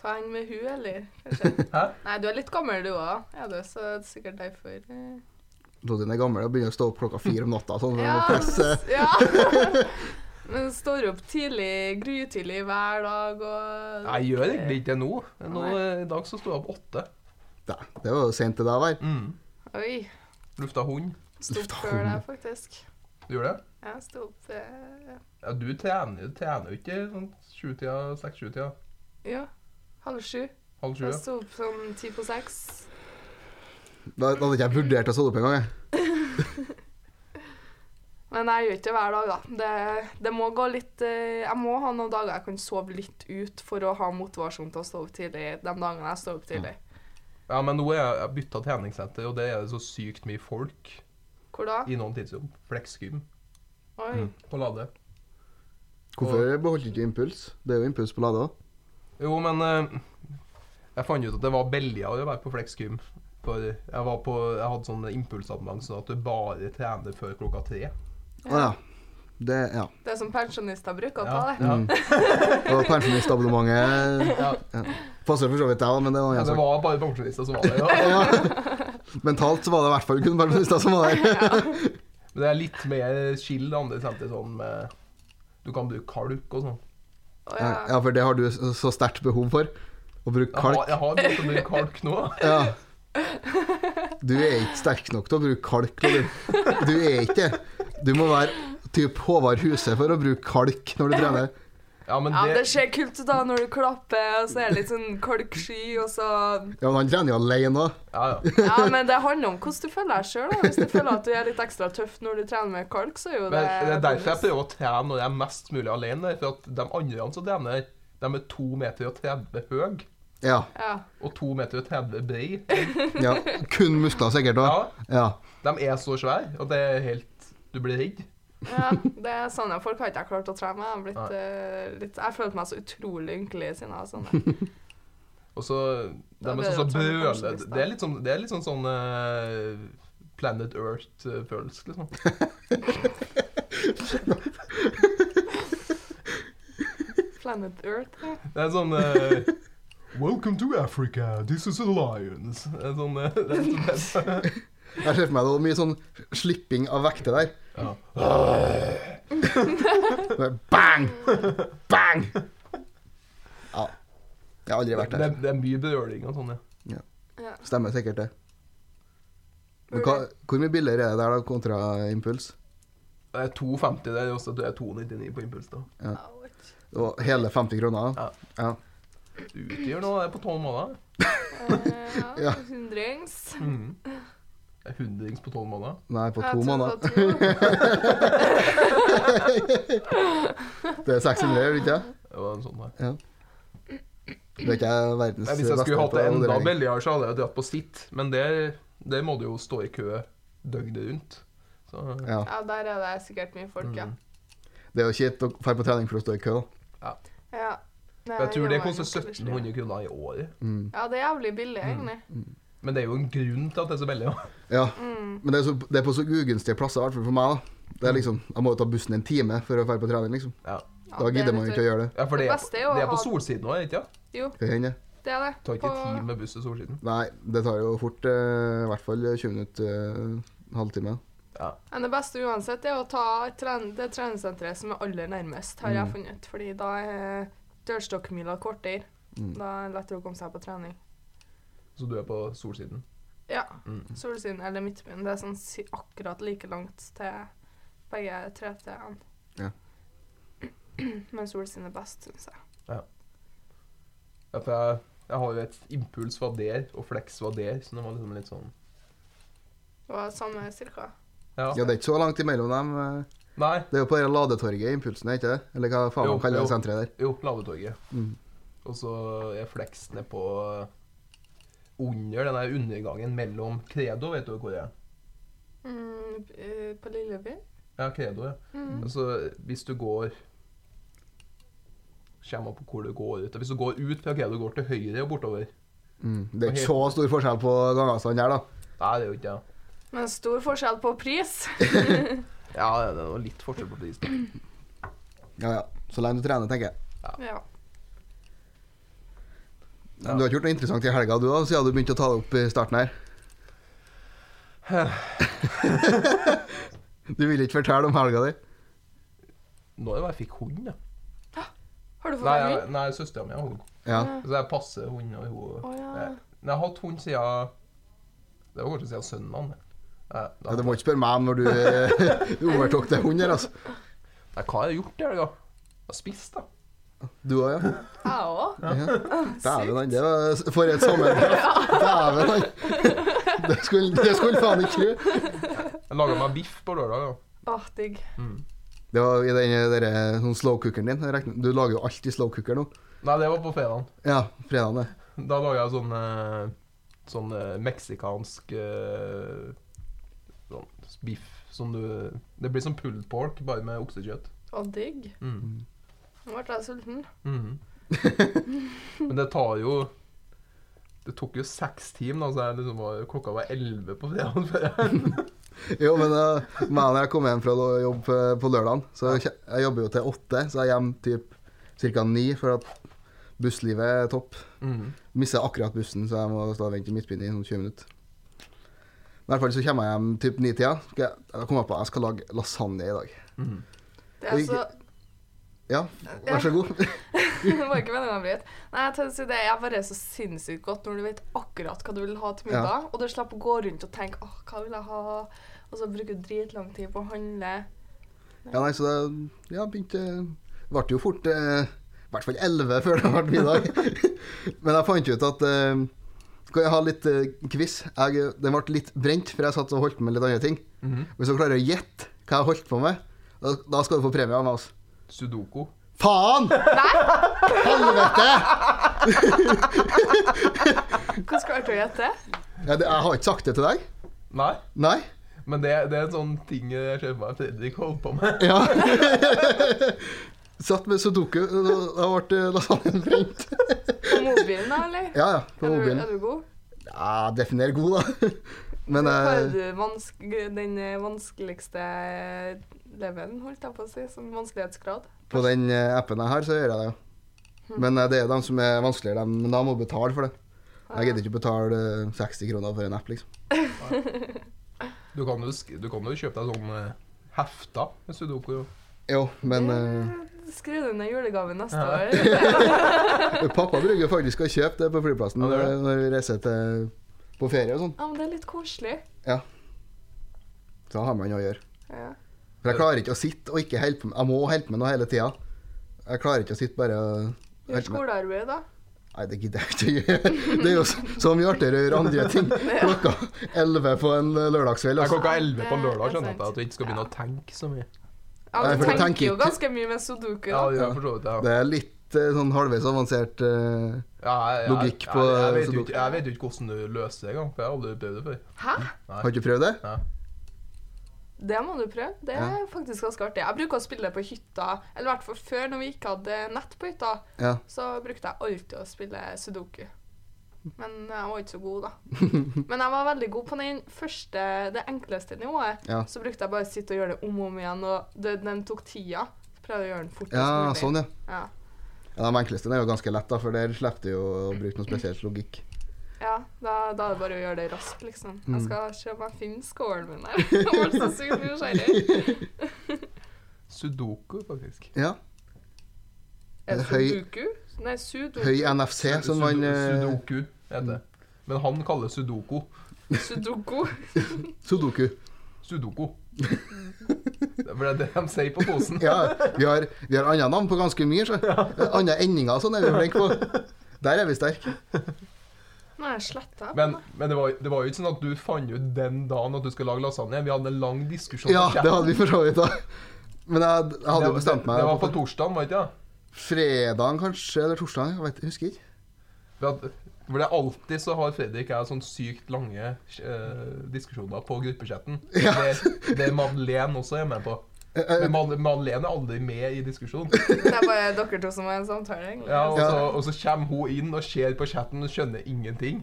B: Ta en med hun, eller? Kanskje?
A: Hæ?
B: Nei, du er litt gammel, du òg. Ja, du, så det er sikkert derfor eh.
C: Dodin er gammel og begynner å stå opp klokka fire om natta. Sånn,
B: Ja.
C: og presse.
B: s- ja. Men står opp tidlig, grytidlig hver dag og
A: Nei, jeg gjør egentlig ikke det nå. nå eh,
B: Nei.
A: I dag så sto jeg opp åtte.
C: Da, det var jo sent til deg, vel.
A: Mm.
B: Oi.
A: Lufta hund.
B: Sto opp før deg, faktisk.
A: Du gjør det?
B: Jeg sto opp eh,
A: Ja, du trener, du trener jo ikke sånn sjutida, seks-sjutida.
B: ja, halv sju.
A: Halv sju.
B: Jeg
A: ja.
B: sto opp sånn ti på seks.
C: Da, da hadde ikke jeg vurdert å stå opp engang. jeg.
B: Men jeg gjør ikke det hver dag, da. Det, det må gå litt eh, Jeg må ha noen dager jeg kan sove litt ut for å ha motivasjon til å stå opp tidlig de dagene jeg står opp tidlig.
A: Ja, men nå er jeg- jeg bytta treningssenter, og det er det så sykt mye folk
B: Hvor da?
A: i noen tidsrom. Fleksgym
B: Oi.
A: på Lade.
C: Hvorfor beholdt du ikke impuls? Det er jo impuls på Lade òg.
A: Jo, men eh, jeg fant ut at det var billigere å være på Flexgym. For jeg, var på, jeg hadde sånn impulsabonnement sånn at du bare trener før klokka tre.
C: Å ja. Det, ja.
B: Det er som pensjonister bruker å ta, det.
A: Ja.
C: Mm. Og pensjonistabonnementet
A: Ja.
C: ja. passer for så vidt deg òg, men det var
A: Ja,
C: en
A: det
C: annen sak.
A: var bare pensjonister som var der. Ja.
C: Ja. Mentalt så var det i hvert fall kun pensjonister som var der.
A: Men det er litt mer chill det andre senter, sånn med Du kan bruke kalk og sånn.
B: Å, ja.
C: Ja, for det har du så så sterkt behov for. Å bruke
A: Jeg har,
C: kalk.
A: jeg har begynt å bruke kalk nå.
C: Ja. Du er ikke sterk nok til å bruke kalk. Lodin. Du er ikke det. Du må være typ Håvard Huse for å bruke kalk når du trener.
A: Ja, men
B: Ja, det
A: det,
B: ser kult ut da når du klapper, og så er det litt sånn kalksky, og så
C: Ja, men han trener jo alene òg.
A: ja, ja.
B: Ja, men det handler om hvordan du føler deg sjøl. Hvis du føler at du er litt ekstra tøff når du trener med kalk, så er
A: Men
B: jo det
A: det er derfor jeg prøver å trene når jeg er mest mulig alene. For at de andre som trener, de er 2 meter og 30 høy
C: Ja,
B: Ja.
A: og 2 meter og 30 brei.
C: ja. Kun muskler sikkert òg.
A: Ja,
C: Ja.
A: De er så svære, og det er helt Du blir redd.
B: ja. Det er sånne folk har ikke jeg klart å trene med. Jeg har blitt, eh, litt, jeg følte meg så utrolig ynkelig siden jeg var sånn.
A: Og så De
B: Da
A: er
B: blir
A: sånn som
B: det jo et sånt
A: brøler
B: pensjonist, da.
A: Det er litt sånn, det er litt sånn, sånn eh, Planet Earth-følelse, liksom.
B: Planet Earth. ja.
A: Det er sånn eh, Welcome to Africa, this is a lions. Det er sånn, eh, det er sånn, det er sånn.
C: Jeg ser for meg det var mye sånn slipping av vekter der.
A: Ja.
C: Bare Bang! Bang! Ja. Jeg har aldri vært
A: Det,
C: der.
A: det er mye brøling og sånn, ja.
B: Ja.
C: Stemmer sikkert det. Men hva, hvor mye billigere er det der da, kontra impuls?
A: Det er 2,50 der, og så er det 2,99 på impuls. da.
B: Ouch.
C: Det var hele 50 kroner.
A: Ja.
C: Ja.
A: Du utgjør nå det er på tolv måneder.
B: Eh,
C: Ja.
B: Ja, hundrings.
A: Mhm. Det er Hundrings på tolv måneder.
C: Nei, på
B: Jeg
C: to
B: tror
C: måneder.
B: på to.
C: Det er 600, gjør det ikke?
A: Det var en sånn der.
C: Det er ikke jeg
A: Nei,
C: verdens
A: hvis jeg skulle
C: beste
A: hatt
C: på
A: det enda
C: moderering.
A: billigere, så hadde jeg dratt på sitt. Men der, der må du jo stå i kø døgnet rundt. Så
C: Ja.
B: Ja, der er det sikkert mye folk, ja.
A: Mm.
C: Det er jo kjipt å dra på trening for å stå i kø. da.
B: ja. Nei,
A: jeg tror
B: gjør
A: det
B: meg
A: koster
B: nok ellers, ja.
A: 1700 kroner i året.
C: Mm.
B: Ja, det er jævlig billig, egentlig.
A: Men det er jo en grunn til at det er så billig. da.
C: Ja,
B: Mm.
C: men det er, så, det er på så ugunstige plasser, i hvert fall for meg. da. Det er liksom, Jeg må jo ta bussen en time for å dra på trening, liksom.
A: Ja.
B: Ja,
C: Da
B: det
C: gidder
B: vet
C: man
B: du.
C: jo ikke å gjøre det.
A: ja, for det,
B: Det
A: er
B: beste er jo
A: på- det er
B: å
A: på
B: ha-
A: solsiden òg, ikke sant?
B: Jo,
C: Hva hender?
B: det er det.
A: Tar ikke
B: På-
A: tid med buss til solsiden.
C: Nei, det tar jo fort eh, i hvert fall 20 minutter, eh, halvtime.
A: Ja.
B: Men det beste uansett er å ta tren det treningssenteret som er aller nærmest, har jeg
C: Mm.
B: funnet ut. Fordi da er dørstokkmila kortere.
C: Mm.
B: Da er det lettere å komme seg på trening.
A: Så du er på solsiden.
B: Ja.
A: Mm.
B: Solsiden eller Midtbyen. Det er sånn si akkurat like langt til begge tre stedene.
C: Ja.
B: Men Solsiden er best, syns jeg.
A: Ja, for jeg, jeg har jo et impuls var der, og flex var der, så det var liksom litt sånn
B: Og samme cirka.
A: Ja.
C: Ja, Det er ikke så langt imellom dem. eh.
A: Nei,
C: Det er jo på det ladetorget impulsen, er ikke det? Eller hva faen
A: Jo,
C: man kaller
A: jo.
C: det senteret der.
A: jo, ladetorget.
C: Mm.
A: Og så er flex ned på eh, under den der undergangen mellom Credo, vet du hvor det er?
B: Mm, eh, på Lilleby.
A: Ja, Credo, ja.
B: Mm.
A: Altså, hvis du går Kommer opp på hvor du går ut. Hvis du går ut fra Credo, går til høyre og bortover
C: Mm. Det er
A: Og helt-
C: ikke så stor forskjell på gangavstanden her, da.
A: Nei, det er jo ikke det.
B: Men stor forskjell på pris.
A: Ja, det er noe litt forskjell på pris. da.
C: Ja, ja. Så lenge du trener, tenker jeg.
B: ja.
A: Ja.
C: Men Du har ikke gjort noe interessant i helga, du da, siden du begynte å ta det opp i starten her? du vil ikke fortelle om helga di?
A: Nå er det bare jeg fikk hund, da.
B: Har du fått
A: Nei,
B: deg
A: jeg-
B: hund?
A: nei søstera mi har hund.
C: Ja.
A: Så jeg passer hund og hun
B: Å ja.
A: Nei, Jeg har hatt hund siden Det var kanskje siden søndagen. det. Nei, da-
C: ja. Du må ikke spørre meg om når du du overtok til hund her, altså.
A: Nei, hva har jeg gjort i helga? Jeg har spist, da.
C: Du òg, ja.
B: Jeg òg.
C: ja. Dæven,
B: Sykt.
C: han. Det var for et sammendrag. Dæven, han. Det skulle, det skulle faen ikke tro.
A: Jeg laga meg biff på lørdag.
B: Åh, digg.
A: Da. Mm.
C: Det var i den der, sånn slowcookeren din. Jeg regner- Du lager jo alltid slowcooker nå.
A: Nei, det var på fredagen.
C: Ja, fredagen, det.
A: Da laga jeg sånn eh, Sånn eh, meksikansk eh, sånn biff som du Det blir som pulled pork, bare med oksekjøtt.
B: Og digg.
A: Mm.
B: Nå ble jeg sulten.
A: Mhm. Men det tar jo Det tok jo seks timer, da, så jeg liksom var, klokka var elleve på fredagen. før jeg-
C: Jo, men uh, meg når jeg kom hjem fra lo- jobb på, på lørdagen Så jeg, jeg jobber jo til åtte, så jeg er hjem typ cirka ni, for at busslivet er topp.
A: Mhm.
C: Misser akkurat bussen, så jeg må stå og vente i midtbyen i sånn 20 minutter. I hvert fall så kommer jeg hjem typ nitida. Skal jeg- Jeg kommer på at jeg skal lage lasagne i dag.
A: Mhm.
B: Det er
C: Digg.
B: så
C: Ja, vær så god.
B: Det var ikke meningen å bryte. Nei, jeg tenkte å si det er bare så sinnssykt godt når du vet akkurat hva du vil ha til middag, og du slipper å gå rundt og tenke åh, hva vil jeg ha, og så bruker du dritlang tid på å handle.
C: Ja, nei, så det ja, begynte Det ble jo fort eh, I hvert fall elleve før det ble middag. Men jeg fant ut at eh, Skal jeg ha litt eh, quiz? Jeg, den ble litt brent, for jeg satt og holdt på med litt andre ting.
A: Mhm.
C: Hvis du klarer å gjette hva jeg holdt på med, da, da skal du få premie av oss.
A: Sudoku.
C: Faen! Helvete!
B: Hvordan klarte du å gjette det?
C: Ja, det, jeg har ikke sagt det til deg.
A: Nei,
C: Nei?
A: men det, det er en sånn ting jeg ser for meg Fredrik holder på med.
C: Ja. Satt med sudoku, og da ble lasagnen brent.
B: På mobilen, da, eller?
C: Ja, ja. På
B: er, du,
C: mobilen.
B: er du god?
C: Ja, definer god, da. Men
B: Hva
C: eh,
B: er du vansk den eh, vanskeligste levelen, holdt jeg på å si, som vanskelighetsgrad?
C: På den eh, appen jeg har, så gjør jeg det. jo. Men eh, det er jo dem som er vanskeligere, dem, men da må du betale for det. Jeg gidder ikke betale eh, 60 kroner for en app, liksom.
A: Du kan jo, sk- du kan jo kjøpe deg sånn eh, hefter med sudoku.
C: Jo, men
B: Eh, Skriv ned julegaven neste
A: Ja.
B: år.
C: eh, pappa bruker jo faktisk å kjøpe det på flyplassen
A: Ja, det gjør
C: når, når vi reiser til, på ferie og sånn.
B: Ja, men det er litt koselig.
C: Så har man noe å gjøre.
B: Ja.
C: For jeg klarer ikke å sitte og ikke holde på med Jeg må holde på med noe hele tida. Jeg klarer ikke å sitte bare og
B: Gjør
C: holde på med
B: skolearbeid, da.
C: Nei, det gidder jeg ikke å gjøre. Det er jo så, så mye artigere å gjøre andre ting klokka 11 på en lørdagskveld.
A: Det er
C: altså.
A: klokka elleve på lørdag,
B: Det er
A: skjønner jeg
B: sant.
A: at du ikke skal begynne å tenke så mye.
B: Ja,
C: Nei,
B: men
C: for
B: du
C: du
B: tenker
C: tenker
B: jo
C: ikke-
B: ganske mye med sudoku, da.
A: Ja, det gjør jeg for så vidt, ja.
C: Det er litt eh, sånn halvveis avansert eh,
A: Ja, jeg- jeg-
C: Logikk på
A: jeg, jeg, vet jo
C: sudoku.
A: ikke, jeg vet jo ikke hvordan du løser det engang, for jeg har aldri prøvd det før.
B: Hæ?
C: Har du ikke prøvd det?
B: Det må du prøve. Det er
C: Ja.
B: faktisk ganske artig. Jeg bruker å spille det på hytta, eller i hvert fall før, når vi ikke hadde nett på hytta,
C: Ja.
B: så brukte jeg alltid å spille sudoku. Men jeg var ikke så god, da. Men jeg var veldig god på den første, det enkleste nivået.
C: Ja.
B: Så brukte jeg bare å sitte og gjøre det om og om igjen, og det, den tok tida. Så prøvde jeg å gjøre den fortest
C: Ja,
B: mulig.
C: sånn, ja.
B: Ja.
C: ja. De enkleste er jo ganske lett, da, for der slipper du jo å bruke noe spesielt logikk.
B: Ja, da, da er det bare å gjøre det raskt, liksom.
C: Mm.
B: Jeg skal se om jeg finner skålen min her. Jeg var så sykt nysgjerrig.
A: Sudoku, faktisk.
C: Ja.
B: Er det
C: Høy-
B: Sudoku? Nei, Sudoku.
C: Høy NFC, som
A: Sudo-
C: man eh,
A: Sudoku heter det. Men han kaller sudoku
B: Sudoku.
C: Sudoku.
A: sudoku. For det er det de sier på posen.
C: Ja, vi har, vi har andre navn på ganske mye. Så. Andre endinger og sånn er vi flinke på. Der er vi sterke.
B: Nå er jeg sletta.
A: Men, men det, var, det var jo ikke sånn at du fant ut den dagen at du skulle lage lasagne. Vi hadde en lang diskusjon.
C: Ja, det hadde vi for så vidt, da. Men jeg, jeg hadde jo bestemt meg
A: Det, det var på torsdagen, var det ikke det?
C: fredag kanskje, eller torsdag. Jeg vet, jeg husker ikke.
A: For, at, for det er alltid så har Fredrik og jeg sånn sykt lange eh, diskusjoner på gruppechatten.
C: Ja.
A: Det, det er Madeleine også er med på.
C: Eh, eh,
A: Men Mad- Madeleine er aldri med i diskusjonen.
B: Det er bare dere to som har en samtale, egentlig.
A: Ja, og,
C: Ja.
A: Så, og så kommer hun inn og ser på chatten og skjønner ingenting.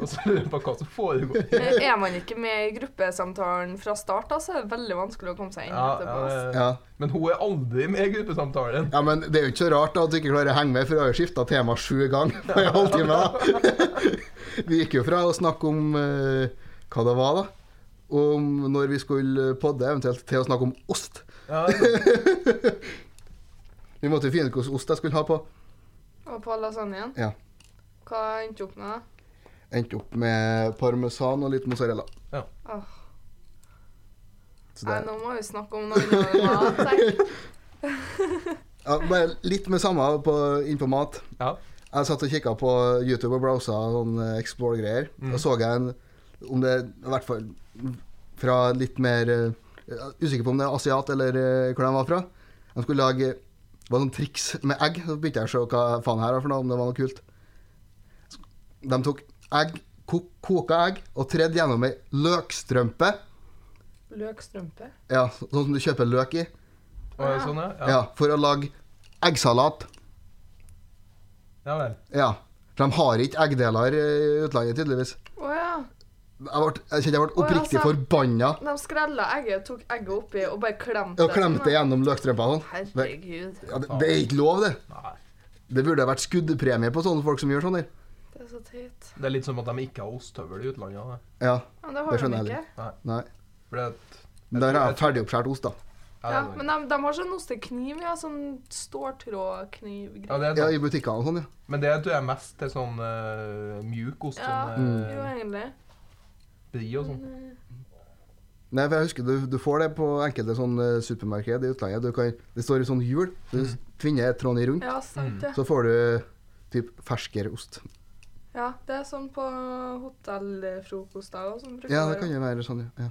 A: Og så lurer jeg på hva som foregår.
B: Er man ikke med i gruppesamtalen fra start, da, så er det veldig vanskelig å komme seg inn
A: Ja,
B: etterpå.
A: ja,
B: ass.
A: det-
C: Ja.
A: men hun er aldri med i gruppesamtalen.
C: ja, men det er jo ikke så rart da at du ikke klarer å henge med, for du har jo skifta tema sju ganger på en halvtime. da. Vi gikk jo fra å snakke om eh, hva det var, da, om når vi skulle podde, eventuelt til å snakke om ost.
A: Ja, det-
C: Vi måtte jo finne ut hvilken ost jeg skulle ha på.
B: Og på lasagnen.
C: Ja.
B: Hva endte du opp med, da?
C: Endte opp med parmesan og litt mozzarella.
B: Åh,
C: Så
B: Nei,
C: det,
B: nå må vi snakke om noe annet enn mat. tenk.
C: ja, bare litt med samme på, innpå mat.
A: ja.
C: Jeg satt og kikka på YouTube og browsa sånn eh, Explore-greier.
A: Mm.
C: Da så jeg en om det I hvert fall fra litt mer eh, jeg er Usikker på om det er asiat eller eh, hvor de var fra. De skulle lage det var sånn triks med egg. Så begynte jeg å se hva faen her var for noe, om det var noe kult. De tok egg, ko koka egg og tredd gjennom ei løkstrømpe.
B: Løkstrømpe.
C: Ja, sånn som du kjøper løk i.
A: Og er det sånn, ja.
C: Ja,
A: ja.
C: For å lage eggsalat.
A: Ja vel.
C: Ja. For de har ikke eggdeler i utlandet, tydeligvis.
B: Å ja.
C: Jeg ble, jeg
B: Å,
C: kjente jeg ble
B: ja, altså.
C: oppriktig
B: sant.
C: forbanna
B: De skrella egget, tok egget oppi og bare klemte
C: og klemte
B: det.
C: gjennom løkstrømpa. og Sånn.
B: Herregud.
C: Ja, det, det er ikke lov, det.
A: Nei.
C: Det burde ha vært skuddpremie på sånne folk som gjør sånn der.
B: Det er så teit.
A: Det er litt som at de ikke har ostehøvel i utlandet. da.
C: Ja,
B: Men det
C: Det
B: har de
C: skjønner jeg
B: ikke.
C: nei.
A: For det er et-
C: Men
A: Jeg tror-
C: Der er
A: jeg
C: jeg ferdigoppskåret ost, da.
B: Ja,
A: det er
B: men
A: noe.
B: de, de har sånn ostekniv, ja. Sånn ståltrådkniv.
A: ja, det er
C: Ja,
A: sant.
C: I butikker og sånn, ja.
A: Men det tror jeg mest til sånn eh, mjuk ost.
B: Ja.
C: Mm.
A: Sånn
B: Jo,
A: eh,
B: egentlig.
A: brie og sånn.
C: Nei, for jeg husker du, du får det på enkelte sånne supermarked i utlandet. Du kan, det står i sånn hjul. Du
A: Mm.
C: tvinner et tråd i rundt,
B: Ja, sant det.
C: så får du typ ferskere ost.
B: Ja, det er sånn på hotellfrokoster og sånn. bruker
C: Ja,
B: å
C: det
B: være.
C: kan jo være sånn, ja. ja.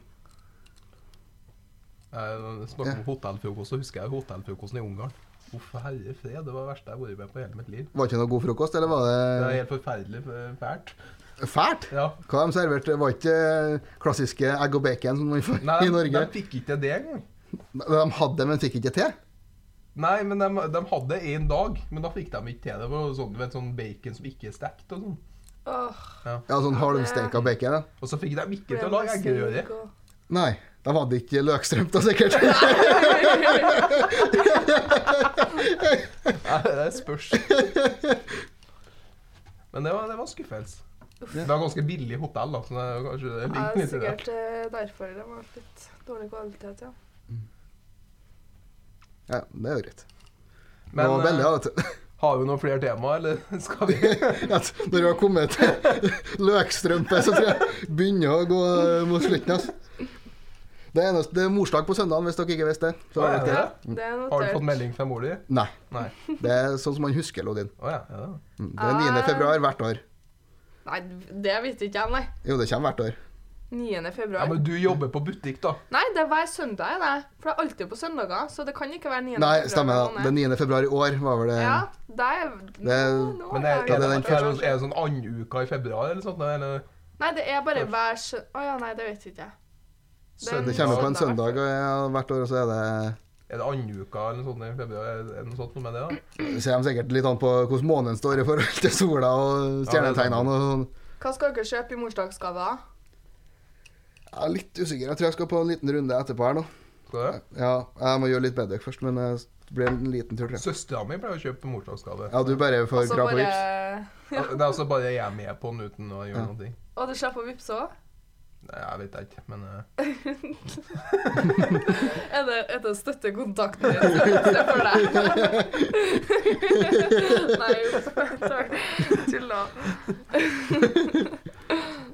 A: Eh, Jeg snakker om hotellfrokost, så husker jeg hotellfrokosten i Ungarn. Uff, herre fred, det var det verste jeg har vært med på hele mitt liv.
C: Var det ikke noe god frokost, eller var
A: Det er
C: det
A: helt forferdelig eh, fælt.
C: fælt?
A: Ja.
C: Hva de serverte, var ikke eh, klassiske egg og bacon som man får
A: Nei,
C: i
A: de,
C: Norge?
A: de fikk ikke det engang.
C: De hadde det, men fikk ikke til.
A: Nei, men de, de hadde én dag, men da fikk de ikke til det. Det var sånn, du vet, sånn bacon som ikke er stekt og sånn.
B: Åh,
C: Ja, sånn halvsteika bacon. Ja.
A: Og så fikk de ikke
B: ble
A: til å lage
B: det
A: eggerøre.
B: syk og-
C: Nei, de hadde ikke løkstrømpe, da, sikkert.
A: Nei, Det spørs. Men det var, det var skuffelse. Det var ganske billig hotell, da. Så det er kanskje det
B: Ja,
A: ligger litt i
B: det er
A: det.
B: sikkert eh, derfor det var litt dårlig kvalitet, ja.
C: Ja, det er jo greit. det
A: Men
C: var
A: eh,
C: veldig, ja, vet du.
A: har vi noen flere tema, eller skal vi
C: At når vi har kommet til løkstrømpe, så tror jeg begynner å gå mot slutten. Altså. Det, er eneste, det er morsdag på søndagen, hvis dere ikke visste det. Så
A: Å,
C: vet
A: er det
C: dere.
B: Ja, det er notert.
A: Har du fått melding fra mor di?
C: Nei.
A: Nei.
C: Det er sånn som man husker, Lodin.
A: Å ja. ja.
C: Mm, Det er 9. februar hvert år.
B: Nei, det vet ikke jeg, nei.
C: Jo, det kommer hvert år.
B: 9. februar.
A: ja. Men du jobber på butikk, da.
B: Nei, det er hver søndag, det. For det er alltid på søndager, så det kan ikke være 9.
C: Nei,
B: februar
C: stemmer
B: måned.
C: det. Det er 9. februar i år var vel det.
B: Ja, det er,
C: Det er-
B: Nå- nå
A: Men
B: har
A: er,
B: jeg-
A: er, det,
C: den
A: er, det, er det sånn andenuka i februar eller sånt? Eller?
B: Nei, det er bare hver søndag Å ja, nei, det vet ikke jeg.
C: Det kommer på en
B: søndag,
C: søndag ja, hvert år, og så er det
A: Er det andre uka eller noe sånt i februar? Er det noe sånt noe med det, da?
C: Det kommer sikkert litt an på hvordan måneden står i forhold til sola og stjernetegnene. og sånn.
B: Hva skal dere kjøpe i morsdagsgave? da?
C: Jeg er litt usikker. Jeg tror jeg skal på en liten runde etterpå her nå.
A: Skal det?
C: Ja, jeg må gjøre litt bedøk først, men det blir en liten tur, tror jeg.
A: Søstera mi pleier å kjøpe morsdagsgave.
C: Ja, du bare får
B: Altså
C: krav på vips.
B: bare-
A: Ja. Det er altså bare jeg er med på den uten å gjøre
C: Ja.
A: noe. ting.
B: Og du slipper å vippse òg?
A: Nei, Jeg vet ikke, men eh,
B: Er det, er det støttekontakten din som vipser for deg? Nei, takk. Tulla.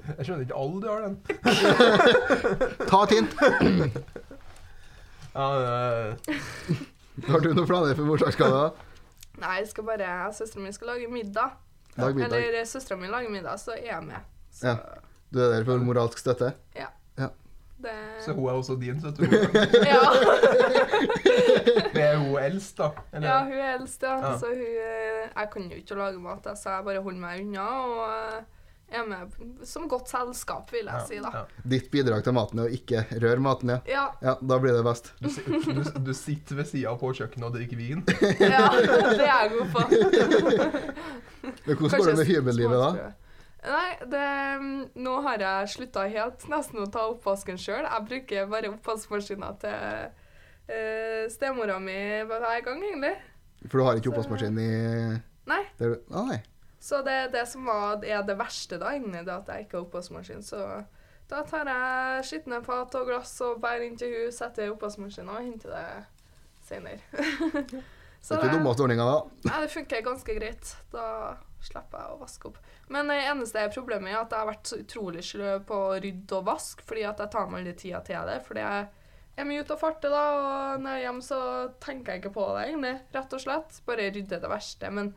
A: jeg skjønner ikke alle de har den.
C: Ta et hint!
A: Ja, eh,
C: Har du noen planer for morsdagsgave? da?
B: Nei, jeg skal bare Søstera mi skal lage middag.
C: Lag middag.
B: Eller søstera mi lager middag, så er jeg med. Så
C: Ja. Du er der for moralsk støtte?
B: det
A: så hun er også din, så tror jeg.
B: ja.
A: Men er hun eldst, da? Eller?
B: ja, hun er eldst, ja.
A: Ja.
B: Så hun eh, Jeg kan jo ikke lage mat, da, så jeg bare holder meg unna og eh, er med som godt selskap, vil jeg si, da.
A: Ja.
C: Ditt bidrag til maten er å ikke røre maten, ja.
B: Ja.
C: Ja, da blir det best.
A: Du, si- du, du sitter ved sida på kjøkkenet og drikker vin.
B: ja det er jeg god på.
C: Men hvordan går det med hybellivet da?
B: Nei, det, mm, nå har jeg slutta helt nesten å ta oppvasken sjøl. Jeg bruker bare oppvaskmaskina til uh, stemora mi hver gang, egentlig.
C: For du har ikke oppvaskmaskin i
B: Nei.
C: der du... ah, nei.
B: Så det er det som var, er det verste, da, egentlig, det at jeg ikke har oppvaskmaskin. Så da tar jeg skitne fat og glass og bærer inn til henne, setter i oppvaskmaskina og henter det seinere.
C: Det er ikke dummeste ordninga, da.
B: Nei, det funker ganske greit. Da slipper jeg å vaske opp. Men det eneste problemet er at jeg har vært så utrolig sløv på å rydde og vaske, fordi at jeg tar meg litt tida til det. Fordi jeg er mye ute og farter, da, og når jeg er hjemme, så tenker jeg ikke på det, egentlig. Rett og slett. Bare rydde det verste. Men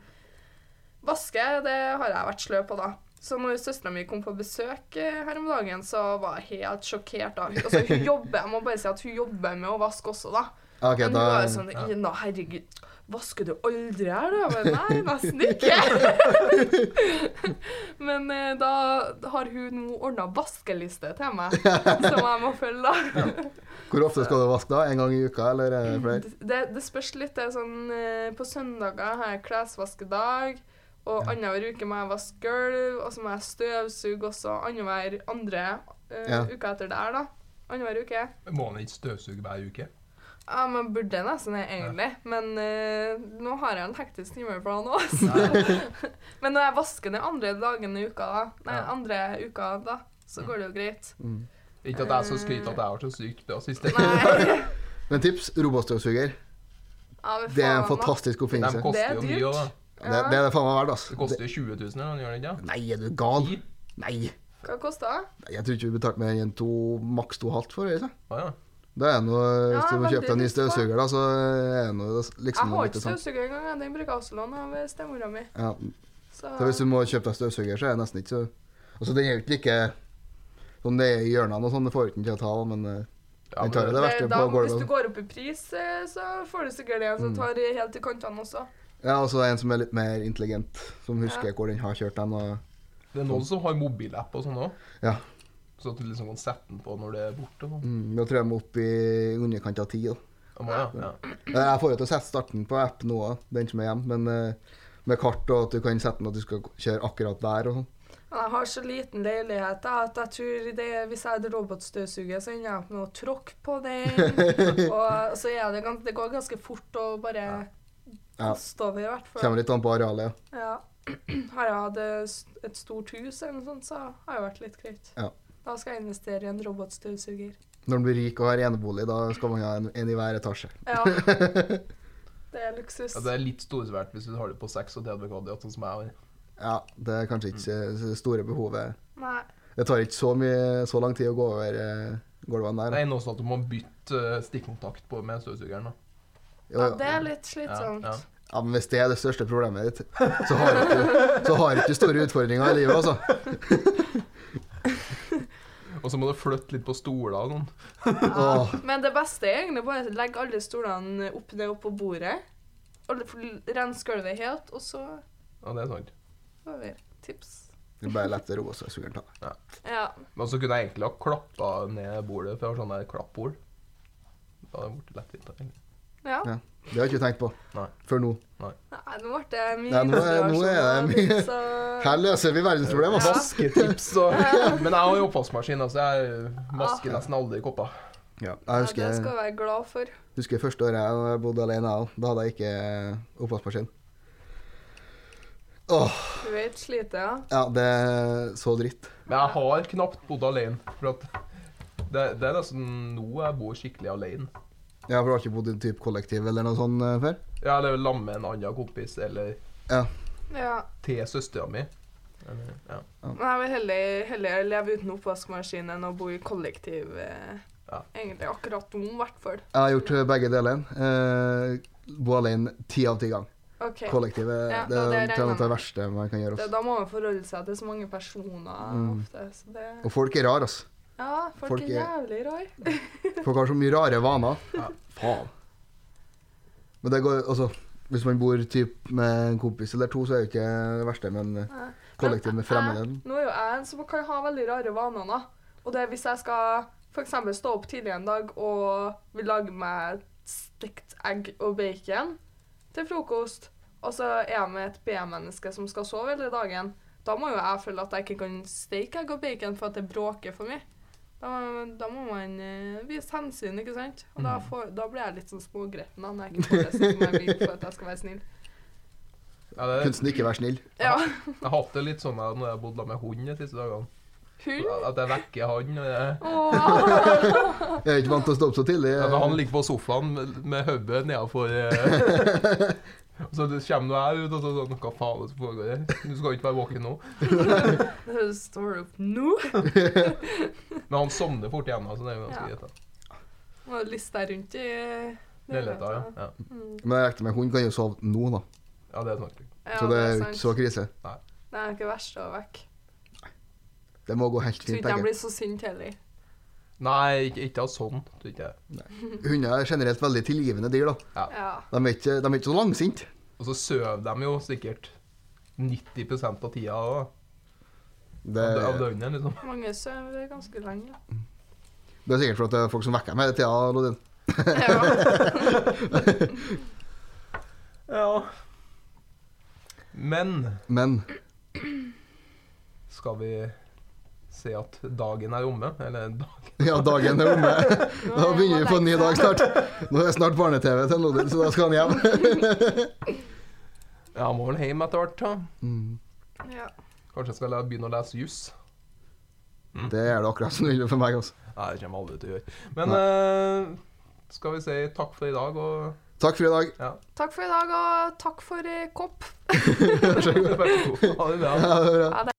B: vaske, det har jeg vært sløv på, da. Så når søstera mi kom på besøk eh, her om dagen, så var jeg helt sjokkert. da. Altså, hun jobber, Jeg må bare si at hun jobber med å vaske også, da.
C: Ah, Ok,
B: Men
C: da
B: hun var jo sånn
A: ja.
B: ja. Nå, herregud, vasker du aldri her, da? Men nei, nesten ikke. Men eh, da har hun nå ordna vaskeliste til meg, som jeg må følge, da.
C: Hvor ofte skal du vaske, da? En gang i uka, eller er det flere?
B: Det, det spørs litt. Det er sånn eh, På søndager har jeg klesvaskedag. Og annenhver uke må jeg vaske gulv, og så må jeg støvsuge også annenhver andre eh,
C: Ja.
B: uke etter der, da. Annenhver uke.
A: Må han ikke støvsuge hver uke?
B: Ja, man burde nesten det, egentlig. Men eh, nå har jeg en hektisk timeplan òg, så
A: Nei.
B: Men når jeg vasker den andre dagen i uka, da, nei,
A: Ja.
B: andre uka da, så går det jo greit.
C: Mm.
A: Ikke at jeg er så skryt at jeg har så sykt bra siste.
B: Nei.
C: Men tips robotstøvsuger.
B: Ja, men
C: Det er
B: faen,
C: en
B: da.
C: fantastisk
A: De
C: oppfinnelse.
A: koster jo
B: Det er
A: mye
B: dyrt.
A: òg, da.
C: Det, det er det faen meg verdt, altså.
A: Det koster jo 20 000 eller noe, gjør det ikke?
C: Det- Nei, er du gal?
A: Ti?
C: Nei.
B: Hva kosta det?
C: Nei, Jeg tror ikke vi betalte mer enn to, maks to og halvt for det. ikke sant?
A: Å ja.
C: Det er noe, Hvis
B: Ja,
C: du må
B: veldig
C: kjøpe deg en ny
B: dyrt, da.
C: støvsuger, da, så er det noe liksom
B: Jeg har
C: litt
B: ikke
C: sånn.
B: støvsuger engang. jeg. Den bruker jeg også låne av stemora mi.
C: Ja,
B: Så
C: så Hvis du må kjøpe deg støvsuger, så er det nesten ikke så Altså, den er jo ikke like sånn det er i hjørnene og sånn, det får du ikke den til å ta, men eh,
A: ja
C: tar
A: men-
C: det verste
B: da,
C: på gulvet,
B: Hvis
C: altså.
B: du går opp i pris, eh, så får du sikkert en som
C: Mm.
B: tar i helt i kantene også.
C: ja, og så en som er litt mer intelligent, som husker
B: Ja.
C: hvor den har kjørt den. Og,
A: Det er noen som har mobilapp og sånn òg.
C: Ja.
A: Så at du liksom kan sette den på når det er borte. og sånn.
C: mm, da tror jeg vi er oppe i underkant av ti. da.
A: Ja, må jeg, ja.
C: Eh, Jeg får jo til å sette starten på app nå, da, den som er hjemme, men eh, med kart og at du kan sette den at du skal kjøre akkurat der og sånn.
B: Men jeg har så liten leilighet da, at jeg tror det, hvis jeg hadde robotstøvsuger, så ender jeg opp med å tråkke på den. og så er det, gans- det går ganske fort å bare
C: Ja.
B: kaste over, i hvert fall.
C: Kommer litt an på arealet. ja.
B: Ja. Har jeg hatt eh, s- et stort hus eller noe sånt, så har det vært litt greit.
C: Ja.
B: Da skal jeg investere i en robotstøvsuger.
C: Når man blir rik og har enebolig, da skal man ha en, en i hver etasje.
B: Ja. Det er luksus.
A: Ja, det er litt storsvært hvis du har det på 36 kvadrat, sånn som jeg har.
C: Ja, det er kanskje ikke det store behovet.
B: Nei.
C: Det tar ikke så, mye, så lang tid å gå over eh,
A: Det
C: gulvene der. da.
A: er eneste at du må bytte eh, stikkontakt på med støvsugeren. da.
C: Jo,
B: Ja, det er litt slitsomt.
A: Ja, ja.
C: ja, men hvis det er det største problemet ditt, så har du ikke, så har du ikke store utfordringer i livet, altså.
A: Og så må du flytte litt på stoler og sånn.
B: Ja.
C: Åh.
B: Men det beste er egentlig bare å legge alle stolene opp ned opp på bordet. Og rense gulvet helt, og så
A: Ja, det er sant.
B: over. Tips.
C: Det er bare lett å roe seg sugeren ta.
B: Ja.
A: Men så kunne jeg egentlig ha klappa ned bordet, for jeg har sånn der klappbord. Da hadde det blitt lettvint. egentlig.
B: Ja.
C: Ja. Det har jeg ikke tenkt på
A: Nei.
C: før nå.
B: Nei, nå ble det mye
C: Nei, nå er- nå er det mye-
B: så...
C: Her løser vi verdensproblem, altså.
A: Vasketips og Men jeg har jo oppvaskmaskin, altså jeg vasker
C: Ah.
A: nesten aldri kopper.
C: Ja. Jeg
B: Ja, det
C: husker,
B: skal du være glad for.
C: husker første året jeg bodde alene, jeg også. da hadde jeg ikke eh, oppvaskmaskin. Åh,
B: Du vet, sliter, ja.
C: ja, det er så dritt.
A: Men jeg har knapt bodd alene. For at det, det er nesten nå jeg bor skikkelig alene.
C: Ja, for du har ikke bodd i en type kollektiv eller noe sånt eh, før?
A: Ja, eller sammen med en annen kompis, eller
B: ja.
A: til søstera mi. Eller, ja.
B: Men jeg vil heller, heller leve uten oppvaskmaskin enn å bo i kollektiv. Eh,
A: Ja.
B: Egentlig akkurat nå, i hvert fall.
C: Jeg har gjort eh, begge delene. Eh, bo alene ti av ti ganger.
B: Ok,
C: Kollektivet
B: Ja,
C: det
B: og det
C: er
B: regner
C: noe av det
B: med.
C: verste man kan gjøre. altså.
B: det,
C: Også.
B: Da må man forholde seg til så mange personer
C: Mm.
B: ofte. Så det,
C: Og folk er rare, altså.
B: ja, folk,
C: folk
B: er
C: er-
B: jævlig rar.
C: Folk har så mye rare vaner.
A: Ja.
C: Faen. Men det går altså Hvis man bor typ med en kompis eller to, så er det ikke det verste, men eh,
B: Nei.
C: kollektiv med
B: Men
C: fremmede
B: jeg- Nå er jo jeg en som kan ha veldig rare vaner. da. Og det er hvis jeg skal for eksempel stå opp tidlig en dag og vil lage meg stekt egg og bacon til frokost, og så er jeg med et B-menneske som skal sove hele dagen, da må jo jeg føle at jeg ikke kan steke egg og bacon for at det bråker for mye. Da, må- da må man eh, vise hensyn, ikke sant? Og da, får, da blir jeg litt sånn smågretten da, når jeg ikke får det sånn som jeg vil for at jeg skal være snill.
A: Ja, det,
C: Kunsten ikke være snill.
B: Ja,
A: jeg har hatt det litt sånn at når jeg har bodd med hund de siste dagene.
B: hund?
A: At jeg vekker han. og jeg-
B: Åh.
C: Jeg er ikke vant til å stå opp så tidlig.
A: Ja,
C: eh.
A: men han ligger på sofaen med- med hodet nedafor eh, Og Så det kommer nå jeg ut og så sånn Hva faen er det som foregår her? Du skal jo ikke være våken nå.
B: Det står opp nå.
A: Men han sovner fort igjen, altså. Det er jo ganske
B: Ja.
A: greit. da.
B: Og lista rundt i eh,
A: Leiligheta, ja. ja.
B: Mm.
C: Men jeg rekte med hund kan jo sove nå, da.
A: Ja, det er snakk.
B: Ja,
C: Så det er jo
B: sant.
C: ikke så krise.
B: Nei, Det er ikke verst å vekk.
C: Det må gå helt
B: Tror
C: fint.
B: ikke de
C: tenker jeg.
B: blir så sinte heller.
A: Nei, ikke, ikke av sånn, tror ikke jeg.
C: Hunder er generelt veldig tilgivende dyr. da.
B: Ja.
C: De er ikke, de er ikke så langsinte.
A: Og så sover de jo sikkert 90 av tida da.
C: Det,
A: Av dø- av døgnet, liksom.
B: Mange sover ganske lenge.
C: det er sikkert fordi det er folk som vekker dem hele tida. Lodin.
B: Ja.
A: Ja. Men
C: Men
A: skal vi se at dagen er omme? Eller dag
C: ja, dagen er omme.
B: Nå
C: Da
B: er
C: begynner vi på en ny
B: jeg
C: dag snart. Nå er det snart barne-TV til Lodin, så da skal han hjem.
A: Ja, må vel hjem etter hvert, da.
C: Mm.
B: alene. Ja.
A: Kanskje jeg skal la- begynne å lese juss.
C: Det er det akkurat som det vil for meg. altså.
A: Nei, det kommer aldri til å gjøre. Men eh, skal vi si takk for i dag, og
C: Takk for i dag.
B: Takk for i dag, og takk for eh, kopp.
A: Vær så god. Ha det bra.
C: Ha det bra.
B: Ha det.